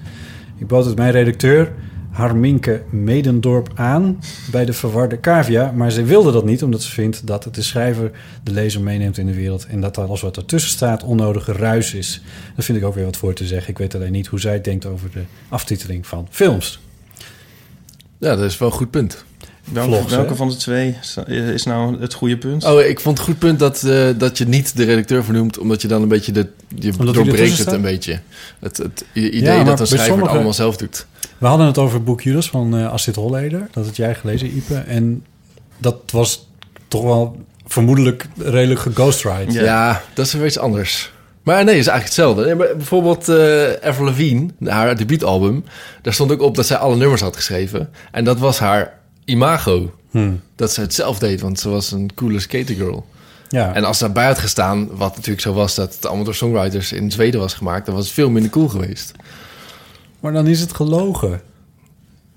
Ik bood het mijn redacteur Harminke Medendorp aan bij de verwarde cavia, maar ze wilde dat niet omdat ze vindt dat de schrijver de lezer meeneemt in de wereld en dat alles wat ertussen staat onnodige ruis is. Daar vind ik ook weer wat voor te zeggen. Ik weet alleen niet hoe zij het denkt over de aftiteling van films. Ja, dat is wel een goed punt. Welke, Vlogs, hè? welke van de twee sta- is nou het goede punt? Oh, ik vond het goed punt dat, eh, dat je niet de redacteur vernoemt, omdat je dan een beetje de. Je hij doorbreekt ertussen het staat? een beetje. Het, het i- Ja, idee maar dat bij een schrijver sommige- het allemaal zelf doet. We hadden het over het boek Judas van eh Astrid Holleder. Dat had jij gelezen, Ipe. En dat was toch wel vermoedelijk redelijk geghostwrite. Ja. Ja, dat is weer iets anders. Maar nee, het is eigenlijk hetzelfde. Nee, maar bijvoorbeeld eh Avril Lavigne, haar debuutalbum, daar stond ook op dat zij alle nummers had geschreven. En dat was haar imago. Hmm. Dat ze het zelf deed, want ze was een coole skatergirl. Ja. En als daarbij had gestaan, wat natuurlijk zo was dat het allemaal door songwriters in Zweden was gemaakt, dan was het veel minder cool geweest. Maar dan is het gelogen.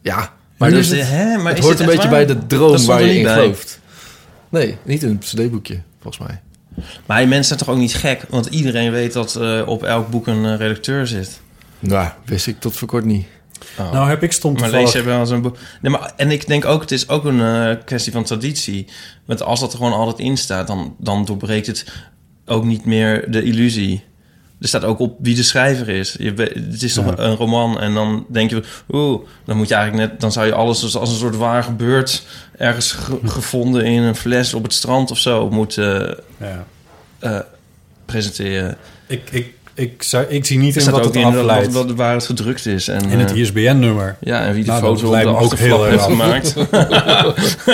Ja, maar Dus dus, de- hè, maar het is hoort een dit echt beetje bij waar? de Dat droom stond waar er je niet in bij. gelooft. Nee, niet in het cd-boekje, volgens mij. Maar die mensen zijn toch ook niet gek? Want iedereen weet dat eh, op elk boek een eh, redacteur zit. Nou, wist ik tot voor kort niet. Oh. Nou heb ik stom maar toevallig... lees hebben wel zo'n boek. Nee, maar, en ik denk ook, het is ook een eh, kwestie van traditie. Want als dat er gewoon altijd in staat, dan, dan doorbreekt het ook niet meer de illusie. Er staat ook op wie de schrijver is. Je, weet- het is toch een roman en dan denk je, oeh, dan moet je eigenlijk net, dan zou je alles als, als een soort waar gebeurd ergens Hm. ge- gevonden in een fles op het strand of zo moeten Ja. eh, presenteren. Ik, ik, ik, zou, ik zie niet Er in staat wat ook het in afleidt. wat, wat, waar het gedrukt is. En, In het eh, ISBN-nummer. ja, en wie de Nou, dat foto op de lijkt me ook heel achterflap erg heeft af. gemaakt.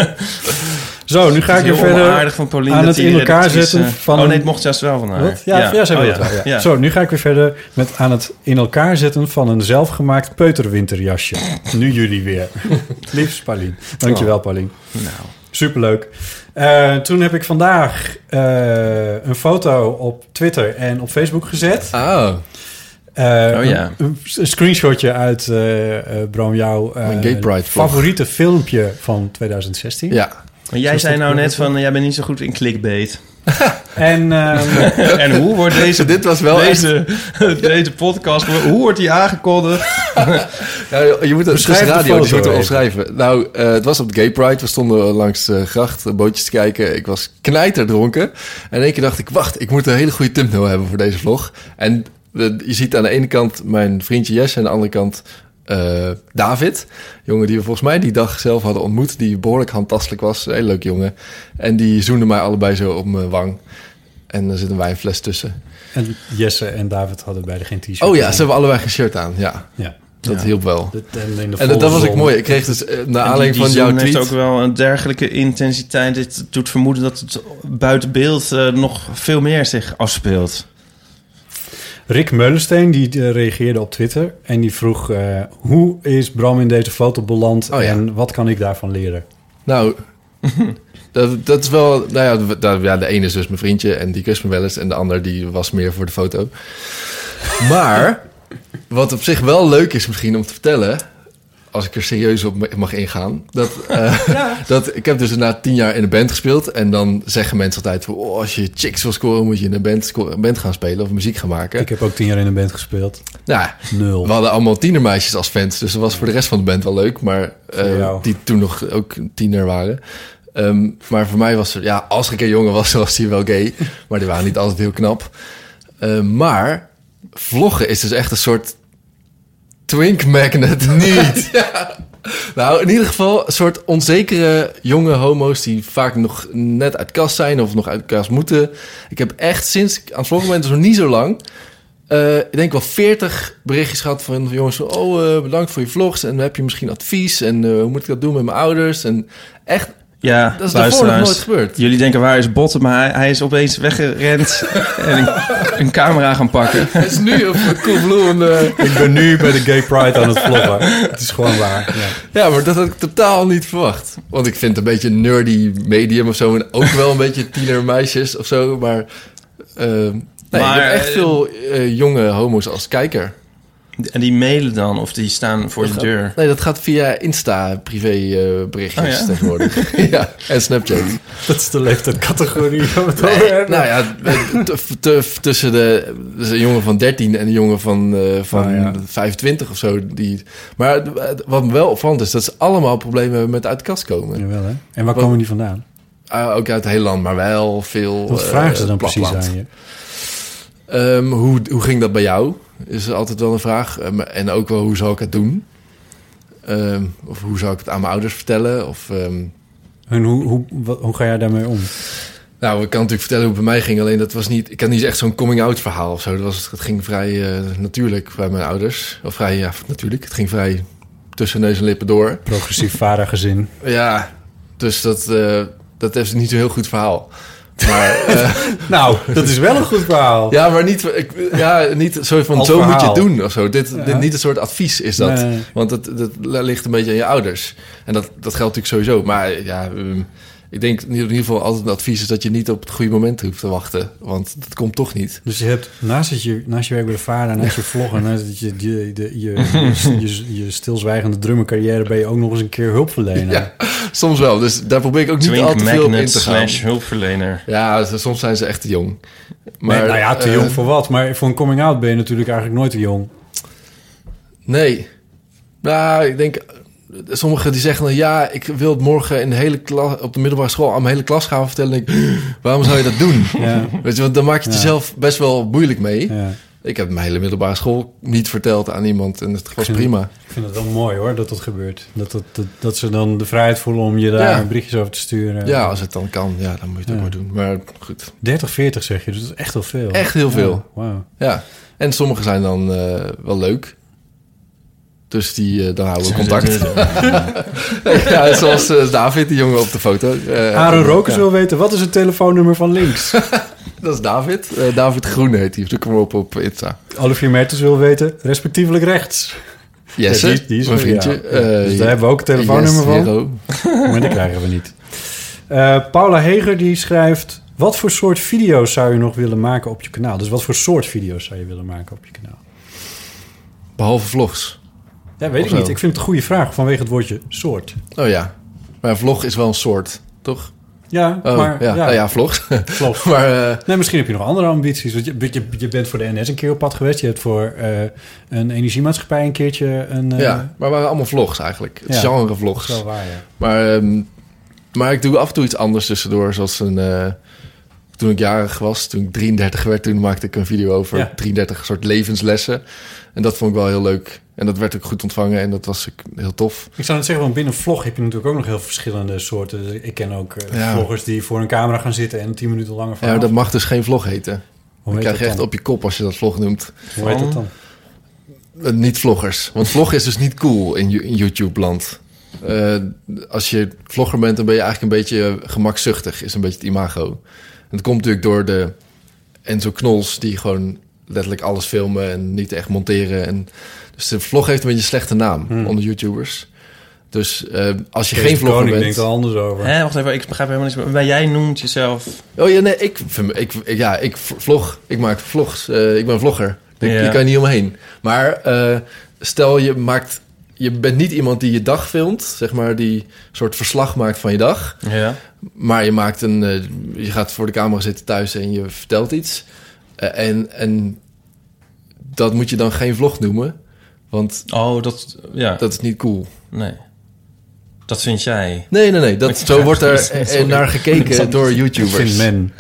Zo, nu ga ik weer Heel verder... onaardig van Pauline aan dat het die in elkaar redactrice- zetten van Oh nee, een- het mocht juist wel van haar. Wat? Ja, ja. zij Oh, wil het wel, ja. Ja. Zo, nu ga ik weer verder met aan het in elkaar zetten van een zelfgemaakt peuterwinterjasje. nu jullie weer. Liefst, Paulien. Dankjewel, Paulien. Nou. Superleuk. Eh, toen heb ik vandaag eh, een foto op Twitter en op Facebook gezet. Oh, Eh, Oh ja. een, een- een screenshotje uit, eh eh Bram, jouw eh, Mijn Gay Pride vlog. favoriete filmpje van 2016. ja. Maar jij zei nou net van, eh, jij bent niet zo goed in clickbait. en ehm, en hoe wordt deze, Dit was wel deze, deze podcast, hoe wordt die aangekondigd? Nou, je moet het Beschrijf dus de radio, dus foto je even. moet erop schrijven. Nou, eh, het was op de Gay Pride. We stonden langs de gracht eh, bootjes te kijken. Ik was knijterdronken. En in één keer dacht ik, wacht, ik moet een hele goede thumbnail hebben voor deze vlog. En eh, je ziet aan de ene kant mijn vriendje Jesse... en aan de andere kant eh, David. Jongen die we volgens mij die dag zelf hadden ontmoet. Die behoorlijk handtastelijk was. Een hele leuk jongen. En die zoende mij allebei zo op mijn wang. En er zit een wijnfles tussen. en Jesse en David hadden beide geen t-shirt. Oh ja, aan. ze hebben allebei geen shirt aan. Ja, ja. dat Ja. hielp wel. Dat- En, in de En volle dat, dat was zon. ook mooi. Ik kreeg dus eh, naar En die- aanleiding die van zoen jouw heeft tweet... ook wel een dergelijke intensiteit. Dit doet vermoeden dat het buiten beeld eh, nog veel meer zich afspeelt. Rick Meulensteen die eh, reageerde op Twitter en die vroeg... eh, hoe is Bram in deze foto beland Oh ja. en wat kan ik daarvan leren? Nou, dat, dat is wel... Nou ja, dat- dat- ja, de ene is dus mijn vriendje en die kust me wel eens. En de ander die was meer voor de foto. Maar wat op zich wel leuk is misschien om te vertellen... Als ik er serieus op ma- mag ingaan. Dat, eh, dat, ik heb dus na tien jaar in een band gespeeld. En dan zeggen mensen altijd... van, Oh, als je chicks wil scoren, moet je in een band, sco- een band gaan spelen of muziek gaan maken. Ik heb ook tien jaar in een band gespeeld. Nou, Nul. We hadden allemaal tienermeisjes als fans, dus dat was voor de rest van de band wel leuk. Maar eh, jou. die toen nog ook een tiener waren. Ehm, maar voor mij was er, ja, als ik een jongen was, dan was hij wel gay. Maar die waren niet altijd heel knap. Eh, maar vloggen is dus echt een soort twink magnet. Niet. ja. Nou, in ieder geval een soort onzekere jonge homo's die vaak nog net uit kast zijn of nog uit kast moeten. Ik heb echt sinds ik aan het vloggen ben, dus nog niet zo lang, eh, ik denk wel 40 berichtjes gehad van jongens van, oh eh, bedankt voor je vlogs en heb je misschien advies en eh, hoe moet ik dat doen met mijn ouders en echt Ja, dat is daarvoor nog luisteraars. nooit gebeurd. Jullie denken, waar is Botten? Maar hij, hij is opeens weggerend en een, een camera gaan pakken. Het is nu op een eh. cool bloem. Ik ben nu bij de Gay Pride aan het vloggen. Het is gewoon waar. Ja. Ja, maar dat had ik totaal niet verwacht. Want ik vind het een beetje een nerdy medium of zo. En ook wel een beetje tienermeisjes of zo. Maar, eh, nee, Maar, ik heb echt eh, veel eh, jonge homo's als kijker. En die mailen dan, of die staan voor je deur. Nee, dat gaat via Insta privé eh, berichtjes Oh ja? tegenwoordig. ja, en Snapchat. Dat is de leeftijdcategorie. waar we het Nee, over hebben. nou ja, t- t- tussen de, dus een jongen van 13 en een jongen van, eh, van Ah, ja. 25 of zo. Die, maar het- wat me wel opvalt is dat ze allemaal problemen hebben met uit de kast komen. Jawel, hè? En waar komen die vandaan? Ah, ook uit het hele land, maar wel veel. Wat eh, vragen ze dan precies platteland. aan je? Ehm, hoe, hoe ging dat bij jou? Is altijd wel een vraag. Ehm, en ook wel, hoe zal ik het doen? Ehm, of hoe zou ik het aan mijn ouders vertellen? Of, ehm, En hoe, hoe, wat- hoe ga jij daarmee om? nou, ik kan natuurlijk vertellen hoe het bij mij ging. Alleen dat was niet... Ik had niet echt zo'n coming-out verhaal of zo. Dat, was, dat ging vrij eh, natuurlijk bij mijn ouders. Of vrij, ja, natuurlijk. Het ging vrij tussen neus en lippen door. Progressief vadergezin. Ja, dus dat, eh, dat is niet zo'n heel goed verhaal. Maar... eh, Nou, dat is wel een goed verhaal. Ja, maar niet, ik, ja, niet een soort van Als zo moet je verhaal. het doen of zo. Dit, Ja. dit, niet een soort advies is dat. Nee. Want dat, dat ligt een beetje aan je ouders. En dat, dat geldt natuurlijk sowieso. Maar ja, ehm, ik denk in ieder geval altijd een advies is dat je niet op het goede moment hoeft te wachten. Want dat komt toch niet. Dus je hebt naast, dat je, naast je werk bij de vader, naast je vloggen, naast dat je, je, de, je, je, je, je stilzwijgende drummercarrière ben je ook nog eens een keer hulpverlener. Ja, soms wel. Dus daar probeer ik ook niet Twink al te veel op in Magnet te gaan. slash hulpverlener. Ja, ze- soms zijn ze echt te jong. Maar, Nee, nou ja, te eh, jong voor wat. Maar voor een coming-out ben je natuurlijk eigenlijk nooit te jong. Nee. Nou, ik denk... Sommigen die zeggen dan... Ja, ik wil het morgen in de hele klas, op de middelbare school... aan mijn hele klas gaan vertellen. En ik, waarom zou je dat doen? Ja. Weet je, want dan maak je het Ja. jezelf best wel moeilijk mee. Ja. Ik heb mijn hele middelbare school niet verteld aan iemand. En dat was vind- prima. Ik vind het wel mooi hoor, dat dat gebeurt. Dat, dat, dat, dat ze dan de vrijheid voelen om je daar Ja. berichtjes over te sturen. Ja, als het dan kan. Ja, dan moet je het Ja. ook maar doen. Maar goed. 30, 40 zeg je, dus dat is echt heel veel. Echt heel veel. Ja, wauw. Ja. En sommige zijn dan eh, wel leuk. Dus die, eh, dan houden we contact. ja, zoals eh, David, die jongen op de foto. Eh, Aaron Rokers ja. wil weten, wat is het telefoonnummer van links? Dat is David. Eh, David Groen heet hij. Zoek hem op op Insta. Olivier Mertens wil weten, respectievelijk rechts. Jesse, Ja, die is- die is mijn van vriendje. jou. Ja, Eh, dus daar hebben we ook een telefoonnummer van. Hero. Maar die krijgen we niet. Eh, Paula Heger die schrijft... Wat voor soort video's zou je nog willen maken op je kanaal? Dus wat voor soort video's zou je willen maken op je kanaal? Behalve vlogs. Ja, weet ik Of zo. niet. Ik vind het een goede vraag vanwege het woordje soort. Oh ja. Maar een vlog is wel een soort, toch? Ja, Oh, maar... ja. Nou ja, vlogs. Vlogs. maar eh, Nee, misschien heb je nog andere ambities. Want je, je, je bent voor de NS een keer op pad geweest. Je hebt voor eh, een energiemaatschappij een keertje een... eh, ja, maar het waren allemaal vlogs eigenlijk. Het Ja. genre dat vlogs. is wel waar, ja. Maar, ehm, maar ik doe af en toe iets anders tussendoor. Zoals een, eh, toen ik jarig was, toen ik 33 werd, toen maakte ik een video over Ja. 33 soort levenslessen. En dat vond ik wel heel leuk. En dat werd ook goed ontvangen en dat was ook heel tof. Ik zou net zeggen, want binnen vlog heb je natuurlijk ook nog heel verschillende soorten. Ik ken ook eh, Ja. vloggers die voor een camera gaan zitten en tien minuten langer Ja, verhaal. dat mag dus geen vlog heten. Hoe Dan heet krijg je dat echt dan? op je kop als je dat vlog noemt. Hoe heet dat dan? Eh, Niet vloggers. Want vlog is dus niet cool in, Yo- in YouTube-land. Eh, als je vlogger bent, dan ben je eigenlijk een beetje eh, gemakzuchtig. Is een beetje het imago. En dat komt natuurlijk door de Enzo Knols... die gewoon letterlijk alles filmen en niet echt monteren. En, dus de vlog heeft een beetje een slechte naam onder YouTubers. Dus eh, als je Hmm. Kees geen de vlogger Koning bent... denkt er anders over. Hé, wacht even, ik begrijp helemaal niks. meer. Maar jij noemt jezelf... Oh ja, nee, ik, ik, ik- ja, ik vlog. Ik maak vlogs. eh, ik ben vlogger. Ik, Ja. Je kan je niet omheen. Maar eh, stel je maakt... Je bent niet iemand die je dag filmt, zeg maar, die een soort verslag maakt van je dag. Ja. Maar je maakt een... eh, je gaat voor de camera zitten thuis en je vertelt iets. Eh, en, en dat moet je dan geen vlog noemen, want Oh, dat... Ja, dat is niet cool. nee. Dat vind jij. Nee, nee, nee. Dat, Ik- zo wordt er Sorry. eh, naar gekeken door Ik vind YouTubers. men.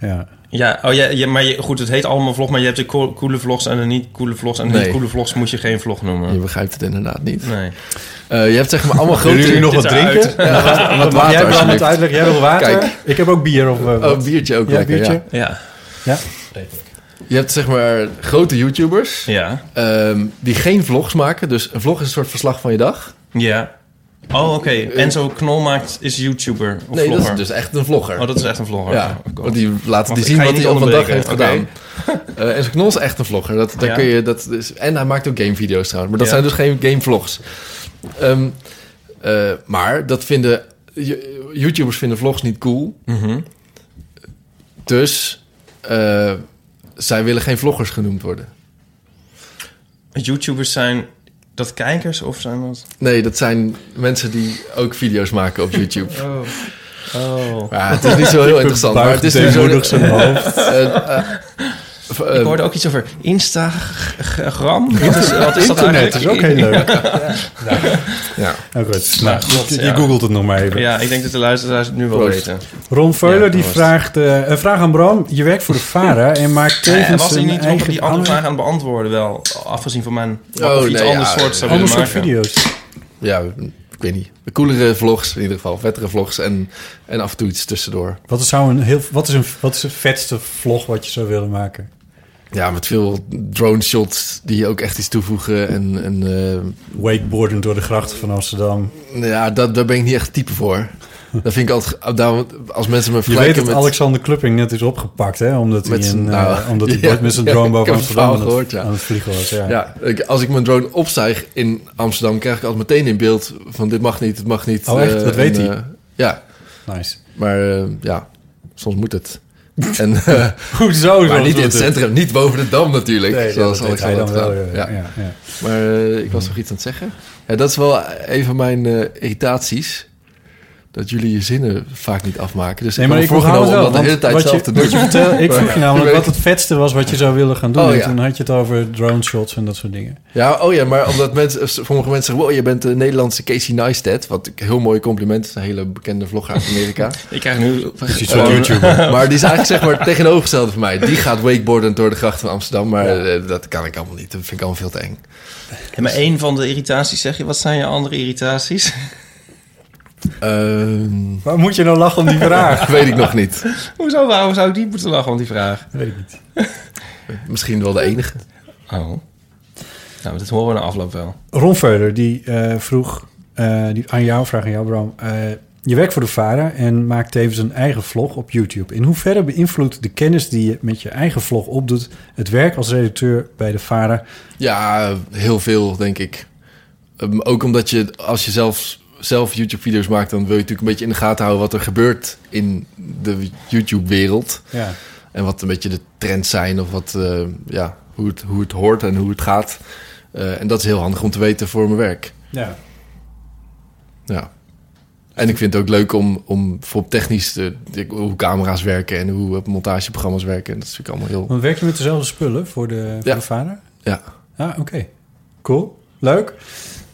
Ja. Ja, oh, ja, ja, maar je, goed, het heet allemaal vlog, maar je hebt de co- coole vlogs en de niet coole vlogs. En de Nee. niet coole vlogs moet je geen vlog Je noemen. begrijpt het inderdaad niet. Nee. Eh, je hebt zeg maar allemaal Willen jullie grote... nog wat Dit eruit. drinken? Ja, Mag jij wat water wil aan het alsjeblieft. uitleggen. Jij wil water? Kijk. Ik heb ook bier of eh, wat. Oh, biertje ook Ja, lekker, biertje. ja. Ja, Ja. Je hebt zeg maar grote YouTubers ja, ehm, die geen vlogs maken. Dus een vlog is een soort verslag van je dag. ja. Oh, oké. Enzo Knol maakt, is YouTuber of Eh. nee, vlogger. dat is dus echt een vlogger. Oh, dat is echt een vlogger. ja, Oh, God. want die laten Wacht, die ik zien ga je wat hij niet op een dag heeft onderbreken, gedaan. Eh, en zo'n knol is echt een vlogger. Dat, daar Ja. kun je, dat is, en hij maakt ook gamevideo's trouwens. Maar dat Ja. zijn dus geen gamevlogs. Ehm eh, maar dat vinden... you- YouTubers vinden vlogs niet cool. Mhm. Dus eh, zij willen geen vloggers genoemd worden. YouTubers zijn dat kijkers of zijn dat... Nee, dat zijn mensen die ook video's maken op YouTube. Oh. Oh. Ja, het is niet zo heel interessant. Maar het is nu zo... deemoedig zijn hoofd. eh, eh, v- eh, Ehm, Ik hoorde ook iets over Instagram. Wat is, wat is dat Internet eigenlijk? is ook heel leuk. Ja. Ja. Nou, goed. Nou, Nou, klopt, je, je ja. googelt het nog maar even. Ja, ik denk dat de luisteraars het nu wel Proost. weten. Ron Veulen Ja, die Proost. vraagt... eh, een vraag aan Bram. Je werkt voor de VARA en maakt Ja, tevens en was hij een niet nog eigen... die andere vraag aan het beantwoorden wel? Afgezien van mijn... Oh, of iets nee, anders ja, soort zou Ander willen soort maken. video's. ja, ik weet niet. De coolere vlogs in ieder geval. Vettere vlogs en, en af en toe iets tussendoor. Wat is, zou een heel, wat, is een, wat is het vetste vlog wat je zou willen maken? Ja, met veel drone shots die ook echt iets toevoegen. En, en eh, Wakeboarden door de grachten van Amsterdam. ja, dat, daar ben ik niet echt type voor. Dat vind ik altijd... daar- als mensen me Je weet vergelijken dat met... Alexander Klupping net is opgepakt, hè? Omdat Met hij, zijn- een, eh, nou, omdat hij ja, ooit met zijn ja, drone ik boven heb het Amsterdam aan verhaal het, gehoord, ja. aan het vliegen was. Ja. Ja, ik- als ik mijn drone opstijg in Amsterdam, krijg ik altijd meteen in beeld van dit mag niet, het mag niet. Oh, echt? eh, Dat weet en, hij? eh, ja, Nice. maar eh, ja, soms moet het. En, eh, Hoezo? maar niet in het centrum, niet boven de dam natuurlijk. Nee, zoals dat deed hij Alexander dan wel. gedaan. ja, Ja. ja, ja. Maar eh, ik was nog iets aan het zeggen. Ja, dat is wel een van mijn eh, irritaties. Dat jullie je zinnen vaak niet afmaken. Dus Nee, ik maar heb ik me voorgenomen onthoud om het wel. dat de hele want wat je, tijd zelf te doen. wat je vertel- ik vroeg je namelijk weet- wat het vetste was wat je zou willen gaan doen. Oh, en ja. toen had je het over drone shots en dat soort dingen. Ja, oh ja, maar omdat mensen, sommige mensen zeggen... wow, je bent de Nederlandse Casey Neistat. Wat een heel mooi compliment is. Een hele bekende vlogger uit Amerika. Ik krijg nu... Oh, van Gewoon- YouTuber. maar die is eigenlijk zeg maar het tegenovergestelde van mij. Die gaat wakeboarden door de gracht van Amsterdam. Maar eh, dat kan ik allemaal niet. Dat vind ik allemaal veel te eng. Ja, eh, maar één van de irritaties zeg je. Wat zijn je andere irritaties? Ehm, Waar moet je nou lachen om die vraag? weet ik nog niet. Hoezo, waarom zou ik die moeten lachen om die vraag? Weet ik niet. Misschien wel de enige. Oh. Nou, dat horen we na afloop wel. Ron Veuler, die eh, vroeg eh, die, aan jou, vraag aan jou Bram. Eh, je werkt voor de VARA en maakt tevens een eigen vlog op YouTube. In hoeverre beïnvloedt de kennis die je met je eigen vlog opdoet... het werk als redacteur bij de VARA? Ja, heel veel, denk ik. Ehm, ook omdat je, als je zelf, zelf YouTube-video's maakt... dan wil je natuurlijk een beetje in de gaten houden... wat er gebeurt in de YouTube-wereld. Ja. En wat een beetje de trends zijn. Of wat, eh, ja, hoe, het, hoe het hoort en hoe het gaat. Eh, en dat is heel handig om te weten voor mijn werk. ja. Ja. En ik vind het ook leuk om, om voor technisch te, ik- hoe camera's werken en hoe eh, montageprogramma's werken. En dat vind ik allemaal heel. Want werk je met dezelfde spullen voor de, voor Ja. de vader? Ja. Ah, oké. Cool. Leuk.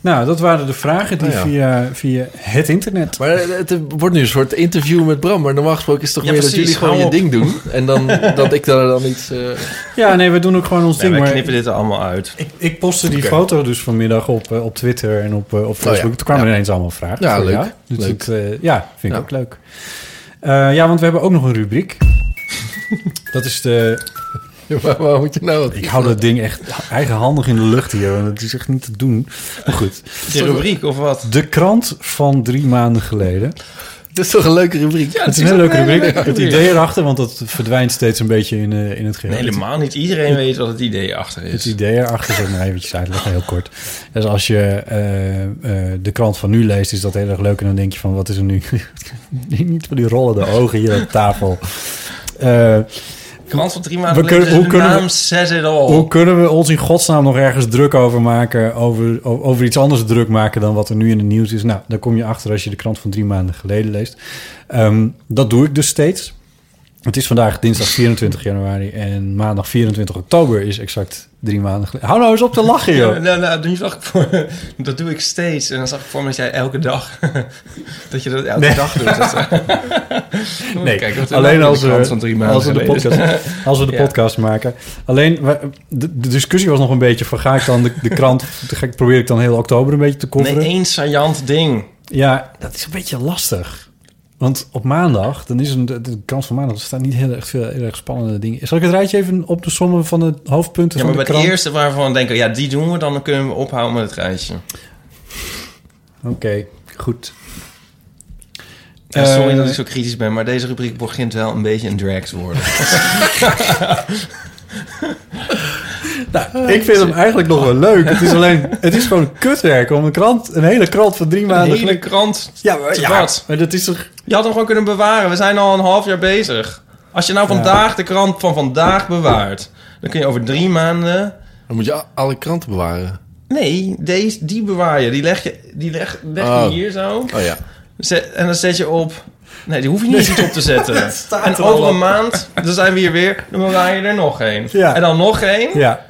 Nou, dat waren de vragen die Nou ja. via, via het internet... Maar het wordt nu een soort interview met Bram. Maar normaal gesproken is het toch Ja, meer dat precies. jullie gewoon Hou je op. ding doen. En dan, dat ik daar dan iets... eh, Ja, nee, we doen ook gewoon ons Nee, ding. wij maar knippen dit er allemaal uit. ik, ik postte die Oké. foto dus vanmiddag op, eh, op Twitter en op, eh, op Facebook. ja. Toen kwamen Ja. ineens allemaal vragen. Ja, voor leuk. jou. Dus Leuk. dat, eh, ja, vind ik Ja. ook leuk. Eh, ja, want we hebben ook nog een rubriek. Dat is de... waar, waar moet je nou... Ik hou dat ding echt eigenhandig in de lucht hier. want Het is echt niet te doen. Maar goed. De rubriek of wat? De krant van drie maanden geleden. Het is toch een leuke rubriek? het is een hele leuke rubriek. Het idee erachter, want dat verdwijnt steeds een beetje in, eh, in het geheel. Nee, helemaal niet. Iedereen weet wat het idee achter Het is. idee erachter zal ik nog eventjes uitleggen, heel kort. Dus als je eh, eh, de krant van nu leest, is dat heel erg leuk. En dan denk je van, wat is er nu? Niet van die rollende ogen hier op tafel. Eh, Krant van drie maanden We geleden, kunnen- de hoe kunnen naam we- says it all. hoe kunnen we ons in godsnaam nog ergens druk over maken? Over, o- over iets anders druk maken dan wat er nu in het nieuws is? Nou, daar kom je achter als je de krant van drie maanden geleden leest. Ehm, dat doe ik dus steeds. Het is vandaag dinsdag 24 januari en maandag 24 oktober is exact drie maanden geleden. Hou nou eens op te lachen, joh. Ja, nou, nou, nu zag ik voor, dat doe ik steeds. En dan zag ik voor me dat jij elke dag, dat je dat elke Nee. dag doet. Dat, Nee, Kijk, wat een alleen leuke als we, krant van drie maanden als we, de, geleden. podcast, als we de Ja. podcast maken. Alleen, we- de, de discussie was nog een beetje van... ga ik dan de, de krant... Ga ik, probeer ik dan heel oktober een beetje te nee, coveren? één saillant ding. Ja, dat is een beetje lastig. Want op maandag, dan is een, de, de krant van maandag... er staan niet heel erg veel heel erg spannende dingen. Zal ik het rijtje even op de sommen van de hoofdpunten Ja, van de maar bij krant? het eerste waarvan we denken, ja, die doen we, dan kunnen we ophouden met het reisje. Oké, goed. Ja, sorry Eh, dat ik zo kritisch ben, maar deze rubriek begint wel een beetje een drag te worden. nou, Ik vind hem eigenlijk nog wel leuk. Het is alleen... Het is gewoon kutwerk om een krant... een hele krant van drie Een maanden... hele krant. ja, maar, te ja, wat? maar dat is toch... Je had hem gewoon kunnen bewaren. We zijn al een half jaar bezig. Als je nou vandaag de krant van vandaag bewaart, dan kun je over drie maanden Dan moet je a- alle kranten bewaren. Nee, deze, die bewaar je. Die leg je, die leg, leg je Oh. hier zo. Oh ja. Zet- en dan zet je op. Nee, die hoef je niet eens iets op te zetten. staat en er al over op. een maand, dan zijn we hier weer. Dan bewaar je er nog één. Ja. En dan nog één. Ja,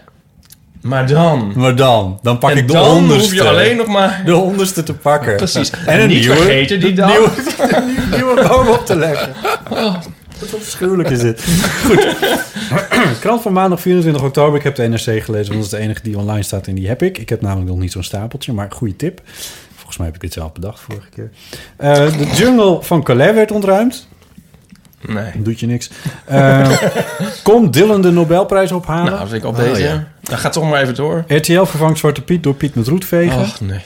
Maar dan. maar dan? Dan pak en ik de dan onderste. hoef je alleen nog maar... De onderste te pakken. Precies. En een niet nieuwe. vergeten die dan. Nieuwe, een nieuwe boom op te leggen. Oh. Wat afschuwelijk is dit. Goed. Krant van maandag 24 oktober. Ik heb de NRC gelezen, want dat is de enige die online staat en die heb ik. Ik heb namelijk nog niet zo'n stapeltje, maar goede tip. Volgens mij heb ik dit zelf bedacht vorige keer. Eh, de jungle van Calais werd ontruimd. Nee. Doet je niks. Eh, Komt Dylan de Nobelprijs ophalen? Nou, vind ik op deze. ja. Dan gaat toch maar even door. RTL vervangt Zwarte Piet door Piet met roetvegen. Ach, nee.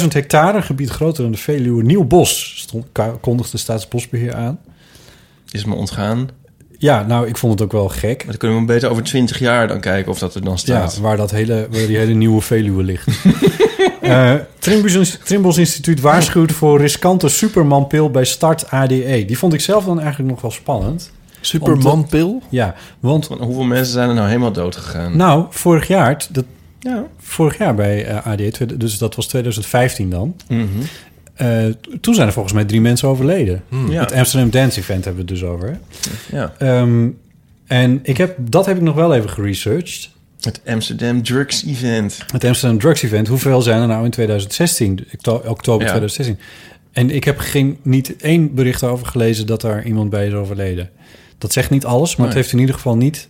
100.000 hectare, een gebied groter dan de Veluwe, nieuw bos, stond, ka- kondigde Staatsbosbeheer aan. Is me ontgaan. Maar Ja, nou, ik vond het ook wel gek. dan kunnen we beter over 20 jaar dan kijken of dat er dan Ja, staat. waar, dat hele, waar die hele nieuwe Veluwe ligt. Eh Trimbos, Trimbos Instituut waarschuwt voor riskante supermanpil bij start ADE. Die vond ik zelf dan eigenlijk nog wel spannend. Supermanpil? Ja, want Want hoeveel mensen zijn er nou helemaal dood gegaan? nou, vorig jaar, t- dat, ja. vorig jaar bij eh, ADE, tweede- dus dat was 2015 dan. Mhm. eh, toen zijn er volgens mij drie mensen overleden. Hmm. Ja. Het Amsterdam Dance Event hebben we het dus over. hè? ja. Ehm, en ik heb, dat heb ik nog wel even geresearched. Het Amsterdam Drugs Event. Het Amsterdam Drugs Event. Hoeveel zijn er nou in 2016? Okto- Oktober Ja. 2016. En ik heb geen, niet één bericht over gelezen dat daar iemand bij is overleden. Dat zegt niet alles, maar het Nee. heeft in ieder geval niet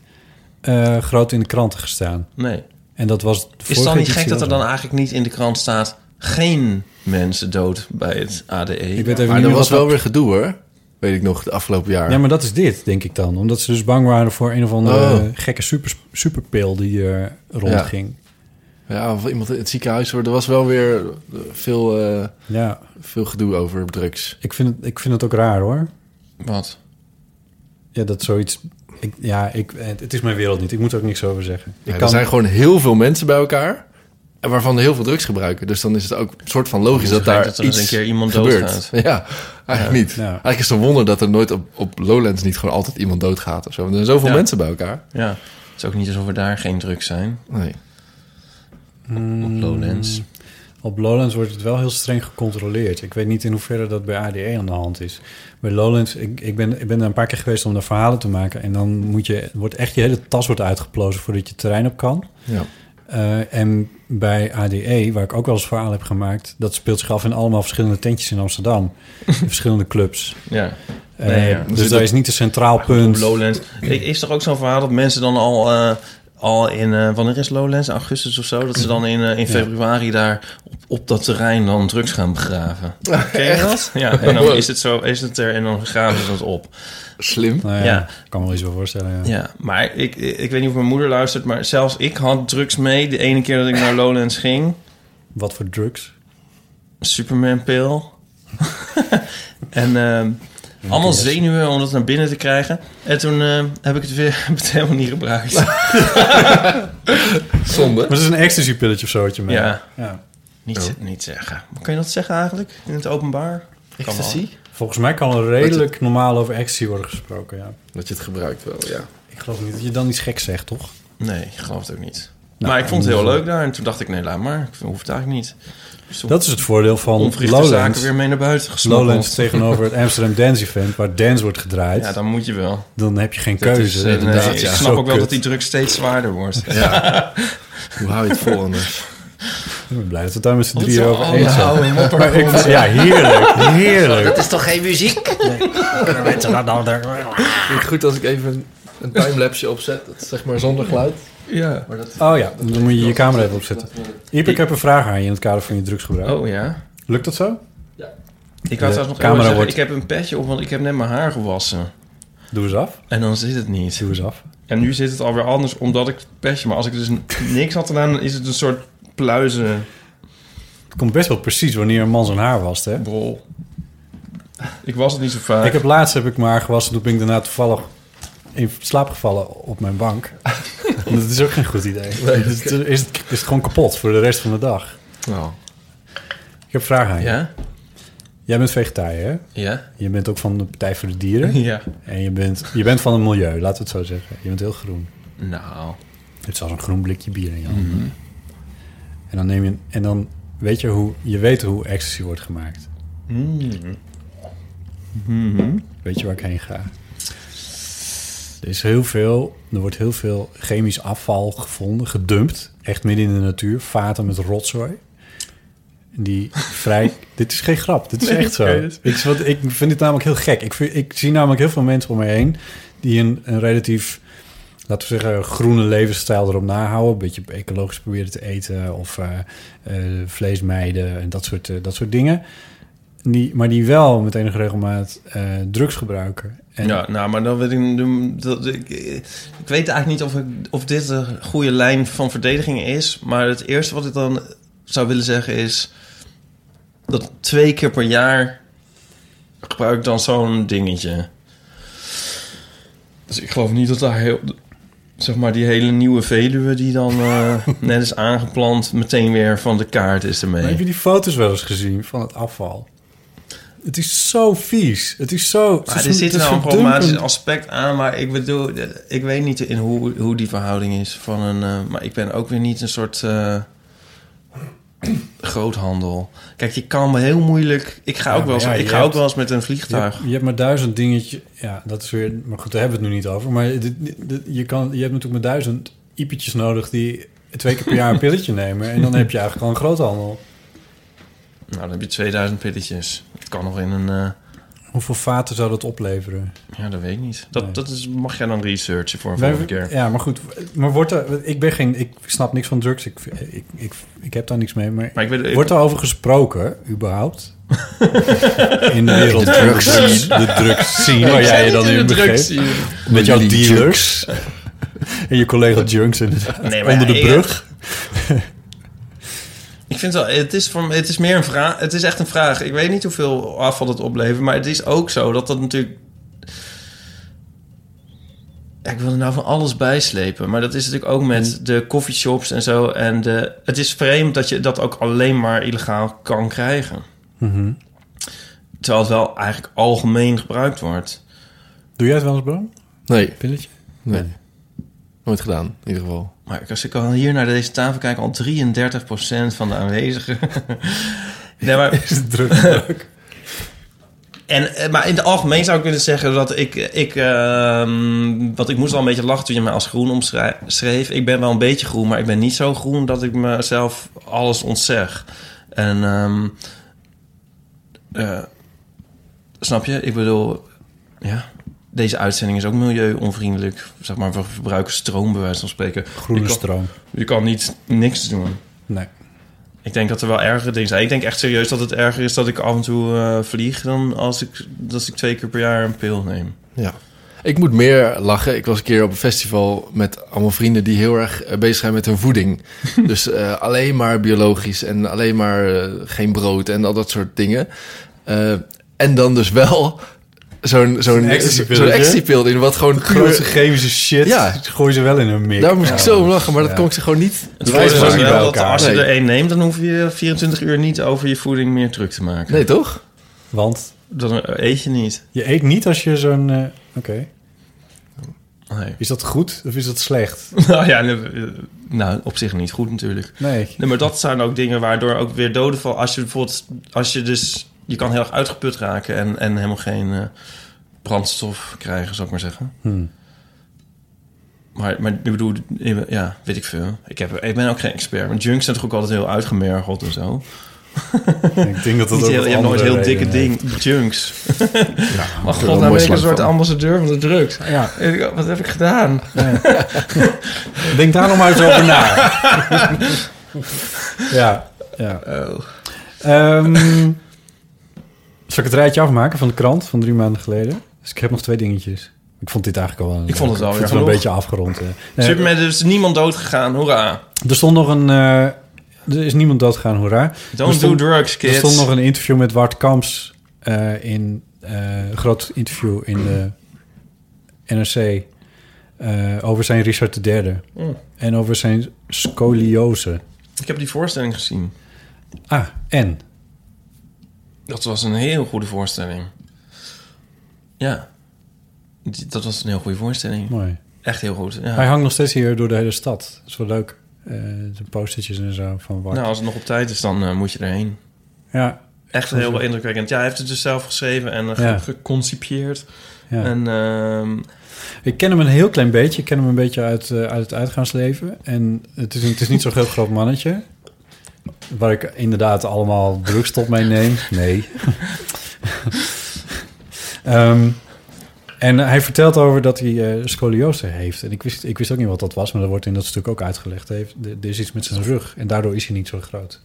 eh, groot in de kranten gestaan. Nee. En dat was. de Is vorige het dan niet editie gek dat wel er dan zo. eigenlijk niet in de krant staat... geen mensen dood bij het E? ADE? Ik weet even Maar niet er wat was dat- wel weer gedoe hoor. Weet ik nog, de afgelopen jaar. Ja, maar dat is dit, denk ik dan. Omdat ze dus bang waren voor een of andere Oh. gekke super, superpil die er rondging. Ja, of iemand in het ziekenhuis. hoor. Er was wel weer eh, veel, eh, ja. veel gedoe over drugs. Ik vind, het, ik vind het ook raar hoor. Wat? Ja, dat zoiets. Ik, ja, ik, het het is mijn wereld niet. Ik moet er ook niks over zeggen. Ik Ja, kan, Er zijn gewoon heel veel mensen bij elkaar. En waarvan er heel veel drugs gebruiken. Dus dan is het ook een soort van logisch Dan dat daar dat er eens iets een keer iemand gebeurt. doodgaat. Ja, eigenlijk niet. Ja. Eigenlijk is het een wonder dat er nooit op, op Lowlands niet gewoon altijd iemand doodgaat of zo. Want er zijn zoveel Ja. mensen bij elkaar. Ja. Het is ook niet alsof er daar geen drugs zijn. Hmm. Nee. Op Lowlands. Mm, Op Lowlands wordt het wel heel streng gecontroleerd. Ik weet niet in hoeverre dat bij ADE aan de hand is. Bij Lowlands, ik, ik, ben, ik ben daar een paar keer geweest om daar verhalen te maken. En dan moet je, wordt echt je hele tas wordt uitgeplozen voordat je het terrein op kan. Ja. Eh, en bij ADE, waar ik ook wel eens verhaal heb gemaakt... dat speelt zich af in allemaal verschillende tentjes in Amsterdam. in verschillende clubs. Ja. Eh, Nee, ja. Dus Zit daar het- is niet een centraal Op punt. Lowlands. Ik- Is toch ook zo'n verhaal dat mensen dan al, eh, al in... eh, wanneer is Lowlands? Augustus of zo? Dat ze dan in, eh, in februari daar op, op dat terrein dan drugs gaan begraven. Ken je dat? Ja, en dan is het, zo, is het er en dan graven ze dat op. Slim. Nou ja, Ja. ik kan me wel iets wel voorstellen. Ja. Ja, maar ik, ik, ik weet niet of mijn moeder luistert... maar zelfs ik had drugs mee de ene keer dat ik naar Lowlands ging. Wat voor drugs? Superman-pil. en ehm, allemaal zenuwen om dat naar binnen te krijgen. En toen ehm, heb ik het weer heb het helemaal niet gebruikt. Zonde. Maar het is een ecstasy pilletje of zo. wat je merkt. Ja. ja. Oh. Niet, ze- niet zeggen. Maar kun je dat zeggen eigenlijk? In het openbaar? Kan wel. Ecstasy? Volgens mij kan er redelijk normaal over ecstasy worden gesproken. Ja. Dat je het gebruikt wel, ja. Ik geloof niet dat je dan iets geks zegt, toch? Nee, ik geloof het ook niet. Nou, maar ik vond het heel leuk daar. En toen dacht ik, nee, laat maar. Ik hoef het eigenlijk niet. Dus toen Dat is het voordeel van onverrichte zaken Lowlands. weer mee naar buiten gesloten. Lowlands tegenover het Amsterdam Dance Event, waar dance wordt gedraaid. Ja, dan moet je wel. Dan heb je geen Dat keuze. is, eh, Dat Nee, inderdaad, ik is ja. snap zo ook wel kut. dat die druk steeds zwaarder wordt. Hoe hou je het vol anders? Ik ben blij dat we het daar met z'n Wat drieën zo'n Oh, over oude, eens zijn. oude mopper Maar ik gewoon. vind- Ja, heerlijk. Heerlijk. is toch geen muziek? Ik vind het goed als ik even een, een timelapse opzet. Dat is zeg maar zonder geluid. Ja. Maar dat, Oh ja, dan moet je je camera even opzetten. Iep, ik heb een vraag aan je in het kader van je drugsgebruik. Oh ja. Lukt dat zo? Ik wou De trouwens nog camera even zeggen, wordt- ik heb een petje op, want ik heb net mijn haar gewassen. Doe eens af. En dan zit het niet. Doe eens af. En nu zit het alweer anders, omdat ik het petje... Maar als ik dus n- niks had gedaan, dan is het een soort pluizenrol. Het komt best wel precies wanneer een man zijn haar wast, hè? Ik was het niet zo vaak. Ik heb laatst heb ik maar gewassen. Toen ben ik daarna toevallig in slaap gevallen op mijn bank. En dat is ook geen goed idee. Dus toen is, het, is het gewoon kapot voor de rest van de dag. nou, Ik heb vragen aan je. Ja? Jij bent vegetariër, hè? Ja? Je bent ook van de Partij voor de Dieren. Ja. En je bent, je bent van het milieu, laten we het zo zeggen. Je bent heel groen. Nou. Je hebt zelfs een groen blikje bier in je hand. Mhm. En dan neem je... een- En dan weet je hoe... Je weet hoe ecstasy wordt gemaakt. Mhm. Weet je waar ik heen ga? Er is heel veel, er wordt heel veel chemisch afval gevonden, gedumpt, echt midden in de natuur, vaten met rotzooi. Die vrij. dit is geen grap, dit is echt zo. Dit is wat, ik vind dit namelijk heel gek. Ik, vind- ik zie namelijk heel veel mensen om me heen die een, een relatief, laten we zeggen, groene levensstijl erop nahouden. Een beetje ecologisch proberen te eten of eh eh, vlees mijden en dat soort, eh, dat soort dingen. Die, maar die wel met enige regelmaat eh, drugs gebruiken. En Ja, nou, maar dan weet ik... Dat, ik, ik weet eigenlijk niet of, ik, of dit een goede lijn van verdediging is. Maar het eerste wat ik dan zou willen zeggen is... dat twee keer per jaar gebruik ik dan zo'n dingetje. Dus ik geloof niet dat daar heel... Zeg maar, die hele nieuwe Veluwe die dan eh, net is aangeplant... meteen weer van de kaart is Maar ermee. heb je die foto's wel eens gezien van het afval? Het is zo vies. Het is zo. het Maar is er een- zit het is wel een verdumpend. problematisch aspect aan, maar ik bedoel, eh, ik weet niet in hoe, hoe die verhouding is van een. eh, maar ik ben ook weer niet een soort eh, groothandel. Kijk, je kan me heel moeilijk. Ik ga, Ja, ook, wel eens, maar ja, ik je ga ook hebt- wel eens met een Je hebt, vliegtuig. je hebt maar duizend dingetjes. Ja, dat is weer. Maar goed, daar hebben we het nu niet over. Maar dit, dit- je, kan, je hebt natuurlijk maar duizend iepetjes nodig die twee keer per jaar een pilletje nemen. En dan heb je eigenlijk al een groothandel. Nou, dan heb je 2000 pilletjes. Het kan nog in een. eh, Hoeveel vaten zou dat opleveren? ja, dat weet ik niet. Dat, Nee. dat is, mag jij dan researchen voor een Wij- volgende keer. Ja, maar goed. Maar wordt er. Ik ben geen. Ik snap niks van drugs. Ik, ik, ik, ik heb daar niks mee. Maar, Maar ik weet, ik- wordt er over gesproken, überhaupt? in de wereld. De drugscene. De drugs scene. Waar jij je dan in begeeft. Met jouw Jullie dealers. en je collega Junks inderdaad. Nee, maar Onder de ja, ik- brug. Ik vind wel, het is, voor, me- het is meer een vraag. Het is echt een vraag. Ik weet niet hoeveel afval het oplevert, maar het is ook zo dat dat natuurlijk. Ja, ik wil er nou van alles bijslepen, maar dat is natuurlijk ook Hmm. met de coffeeshops en zo. En de, het is vreemd dat je dat ook alleen maar illegaal kan krijgen. Mhm. Terwijl het wel eigenlijk algemeen gebruikt wordt. Doe jij het wel eens, Bram? Nee, Pilletje? nee. Nooit gedaan, in ieder geval. Maar als ik al hier naar deze tafel kijk, al 33% van de aanwezigen. nee, maar Is het druk? druk. En, eh, maar in het algemeen zou ik willen zeggen dat ik... ik ehm, want ik moest al een beetje lachen toen je mij als groen omschreef. Ik ben wel een beetje groen, maar ik ben niet zo groen... dat ik mezelf alles ontzeg. En... ehm, eh, snap je? Ik bedoel... Ja, deze uitzending is ook milieuonvriendelijk. Zeg maar, we verbruiken stroom, bij wijze van spreken. Groene je kan, stroom. Je kan niet niks doen. Nee. Ik denk dat er wel ergere dingen zijn. Ik denk echt serieus dat het erger is dat ik af en toe eh, vlieg dan als ik, als ik twee keer per jaar een pil neem. Ja. Ik moet meer lachen. Ik was een keer op een festival met allemaal vrienden die heel erg eh, bezig zijn met hun voeding. dus eh, alleen maar biologisch en alleen maar eh, geen brood en al dat soort dingen. Eh, en dan dus wel zo'n zo'n ecstasypilletje. zo'n ecstasypil in wat gewoon Grootste puur... chemische shit. Ja. Gooi ze wel in een mik. Daar moest ik zo om lachen, maar dat Ja. kon ik ze gewoon niet. Het wijst voordeel ook is niet bij wel dat elkaar. als je Nee. er één neemt, dan hoef je 24 uur niet over je voeding meer druk te maken. Nee, toch? Want Dan eet je niet. je eet niet als je zo'n... eh, Oké. Nee. Is dat goed of is dat slecht? nou ja, nee, nou, op zich niet goed natuurlijk. Nee. Nee, maar dat zijn ook dingen waardoor ook weer doden vallen. Als je bijvoorbeeld, als je dus, je kan heel erg uitgeput raken en, en helemaal geen eh, brandstof krijgen, zou ik maar zeggen. Hmm. Maar, maar ik bedoel, eh, ja, weet ik veel. Ik, heb, ik ben ook geen expert. Maar junks zijn toch ook altijd heel uitgemergeld en zo. Ik denk dat dat Niet ook heel, wat je hebt nooit andere heel dikke redenen heeft. ding, junks. maar er wel god, mooi nou ben ik een slang soort van. ambassadeur van de drugs. Ja. Ik- Wat heb ik gedaan? Denk daar nog maar eens over na. ja. ja. Oh. Ehm, zal ik het rijtje afmaken van de krant van drie maanden geleden? Dus ik heb nog twee dingetjes. Ik vond dit eigenlijk al wel... Ik vond het Dus leuk. alweer Ik wel een genoeg. beetje afgerond. hè. Nee, Superman, er is niemand dood gegaan, hoera. er stond nog een... eh, er is niemand doodgegaan, hoera. Don't Er stond- do drugs, kids. Er stond nog een interview met Wart Kamps eh, in eh, een groot interview in de NRC eh, over zijn Richard III Mm. en over zijn scoliose. Ik heb die voorstelling gezien. Ah, en Dat was een heel goede voorstelling. Ja. Die- Dat was een heel goede voorstelling. mooi. Echt heel goed. Hij Ja. hangt nog steeds hier door de hele stad. Dat is wel leuk. Eh, zijn postertjes en zo van Wart. Nou, als het nog op tijd is, dan eh, moet je erheen. Ja, Echt heel wel indrukwekkend. Ja, hij heeft het dus zelf geschreven en eh, ge- Ja. geconcipieerd. ja. En ehm, Ik ken hem een heel klein beetje. Ik ken hem een beetje uit, eh, uit het uitgaansleven. En het is, het is niet zo'n heel groot mannetje. Waar ik inderdaad allemaal drugstop mee neem. Nee. Ehm, en hij vertelt over dat hij eh, scoliose heeft. En ik wist, ik wist ook niet wat dat was, maar dat wordt in dat stuk ook uitgelegd. Hij heeft- Er er is iets met zijn rug en daardoor is hij niet zo groot.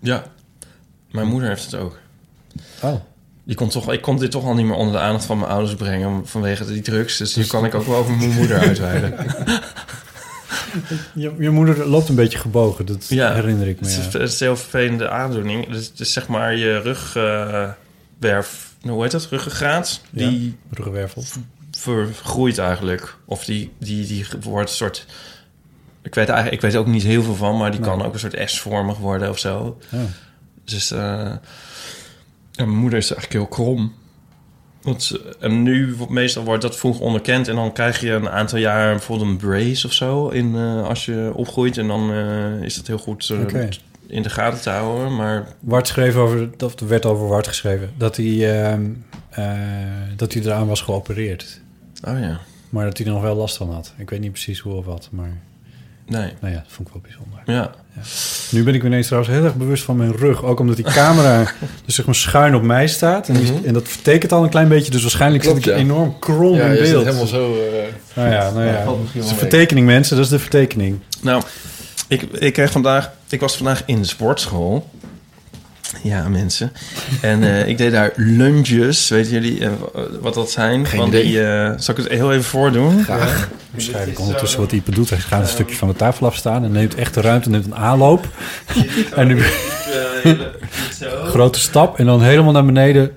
ja, mijn moeder heeft het ook. Oh. Die kon toch, ik kon dit toch al niet meer onder de aandacht van mijn ouders brengen vanwege die drugs. Dus nu kan ik ook wel over mijn moeder uitweiden. Je, je moeder loopt een beetje gebogen, dat Ja. herinner ik me. Het is, ja. het is een heel vervelende aandoening. Dus het is zeg maar je rugwerf, eh, hoe heet dat? Ruggengraat. Ja. Die Ruggenwervel. vergroeit eigenlijk. Of die, die, die wordt een soort... Ik weet, eigenlijk, ik weet er ook niet heel veel van, maar die Nee. kan ook een soort S-vormig worden of zo. Ja. Dus eh, ja, mijn moeder is eigenlijk heel krom. Want, ze- en nu, wordt- meestal wordt dat vroeg onderkend. En dan krijg je een aantal jaar bijvoorbeeld een brace of zo. In, eh, als je opgroeit. En dan eh, is dat heel goed eh, Oké. in de gaten te houden. Maar Wart schreef over, of er werd over Wart geschreven, dat hij, ehm, eh, dat hij eraan was geopereerd. oh ja, Maar dat hij er nog wel last van had. Ik weet niet precies hoe of wat, maar nee. nou ja, dat vond ik wel bijzonder. Ja, Nu ben ik me ineens trouwens heel erg bewust van mijn rug. Ook omdat die camera dus zeg maar schuin op mij staat. En, die- en dat vertekent al een klein beetje, dus waarschijnlijk Mhm. Klopt, zit ik ja. enorm krom Ja, in je zit beeld. helemaal zo... eh, Nou ja, nou ja. Ja, valt misschien dat is wel een mee. vertekening mensen, dat is de vertekening. nou, ik, ik, kreeg vandaag, ik was vandaag in de sportschool. Ja, mensen. En eh, ik deed daar lunges. Weten jullie eh, wat dat zijn? Geen Van idee. Die, eh, zal ik het heel even voordoen? Waarschijnlijk ondertussen eh, wat Ipe doet. Hij gaat een stukje van de tafel afstaan en neemt echt de ruimte, neemt een aanloop. Oh, En nu... eh, grote stap en dan helemaal naar beneden.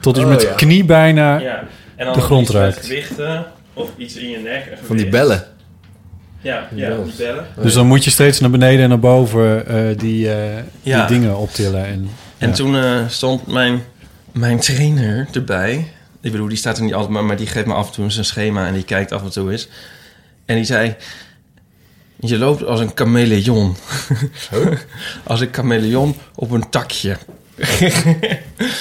Tot je Oh, met de ja. knie bijna. Ja. En dan De grond iets met raakt. gewichten of iets in je nek. een van die gewicht. bellen. Ja, Die ja, bellen. die bellen. Dus dan moet je steeds naar beneden en naar boven eh, die, eh, Ja. die dingen optillen. En, En ja. toen eh, stond mijn, mijn trainer erbij. Ik bedoel, die staat er niet altijd, maar, maar die geeft me af en toe zijn schema en die kijkt af en toe eens. En die zei: Je loopt als een chameleon. als een chameleon op een takje.